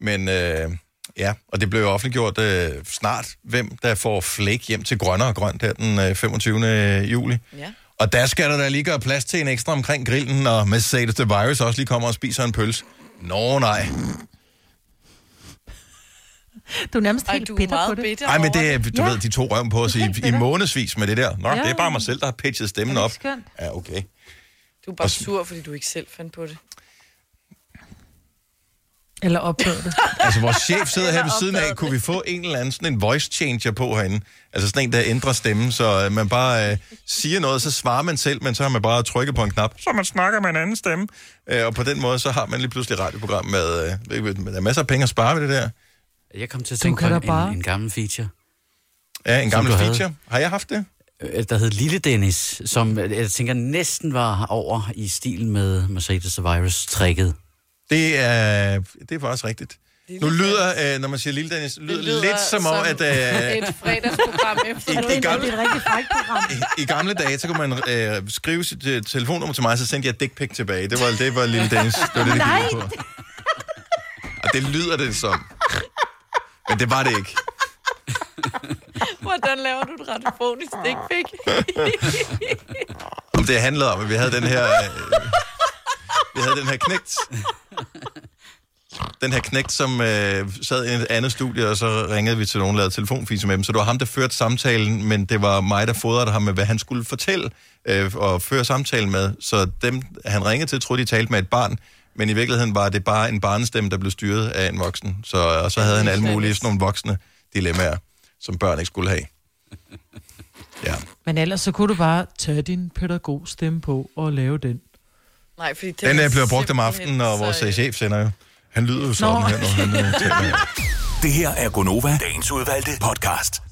Speaker 1: Men øh, ja, og det blev jo offentliggjort øh, snart, hvem der får flæk hjem til Grønne og Grønt her den øh, 25. juli.
Speaker 4: Ja.
Speaker 1: Og der skal der da lige gøre plads til en ekstra omkring grillen, når Mercedes The Virus også lige kommer og spiser en pølse. Nå nej.
Speaker 2: Du er nærmest
Speaker 4: Ej,
Speaker 2: helt
Speaker 4: du er
Speaker 2: bitter på
Speaker 4: meget
Speaker 2: det.
Speaker 4: bitter
Speaker 1: Nej, men det er, du
Speaker 2: Ja.
Speaker 1: ved, de to røven på os i, i månedsvis med det der. Nå,
Speaker 4: Ja.
Speaker 1: det er bare mig selv, der har pitchet stemmen op.
Speaker 4: skønt?
Speaker 1: Ja, okay.
Speaker 4: Du er bare sur, fordi du ikke selv fandt på det.
Speaker 2: Eller opdagede det.
Speaker 1: Altså, vores chef sidder her ved
Speaker 2: Eller
Speaker 1: siden af. Kunne vi få en eller anden sådan en voice changer på herinde? Altså sådan en, der ændrer stemmen, så øh, man bare øh, siger noget, så svarer man selv, men så har man bare trykket på en knap, så man snakker med en anden stemme. Øh, og på den måde, så har man lige pludselig et radioprogram med... Øh, ved- der er masser af penge at spare ved det der.
Speaker 14: Jeg kom til at
Speaker 1: Du
Speaker 14: tænke
Speaker 1: kan
Speaker 14: på
Speaker 1: da
Speaker 14: en,
Speaker 1: bare-
Speaker 14: en, en gammel feature.
Speaker 1: Ja, en
Speaker 14: Som
Speaker 1: gammel
Speaker 14: du havde.
Speaker 1: feature. Har jeg haft det?
Speaker 14: Øh, Der hed Lille Dennis, som øh, jeg tænker næsten var over i stil med Mercedes Virus-trækket.
Speaker 1: Det er, det er faktisk rigtigt. Nu lyder, øh, når man siger Lille Dennis, lyder, det lyder lidt som, om, at... Øh,
Speaker 4: Et fredagsprogram efter.
Speaker 1: I- i gamle-
Speaker 2: et rigtig frækt program.
Speaker 1: I gamle dage, så kunne man øh, skrive sit øh, telefonnummer til mig, så sendte jeg dick pic tilbage. Det var, det var lille Dennis. Det var det, det gik ud på. Og det lyder det som. Men det var det ikke.
Speaker 4: Hvordan laver du et radiofonisk dick pic?
Speaker 1: Om det handlede om, at vi havde den her... Øh, vi havde den her knægt. Den her knægt, som øh, sad i et andet studie, og så ringede vi til nogen, lavede telefonfise med dem. Så det var ham, der førte samtalen, men det var mig, der fodrede ham med, hvad han skulle fortælle øh, og føre samtalen med. Så dem, han ringede til, troede, de talte med et barn, men i virkeligheden var det bare en barnestemme, der blev styret af en voksen. Så, og så havde han alle mulige sådan nogle voksne dilemmaer, som børn ikke skulle have.
Speaker 2: Men ellers så kunne du bare tage din pædagogstemme på og lave den.
Speaker 4: Nej, fordi det
Speaker 1: Den
Speaker 4: er
Speaker 1: øh, bliver brugt om
Speaker 4: simpelthen
Speaker 1: aftenen, og
Speaker 4: så-
Speaker 1: vores øh, chef sender jo. Han lyder jo sådan
Speaker 4: Nå.
Speaker 1: her, når han øh, taler.
Speaker 9: Det her er Gonova, dagens udvalgte podcast.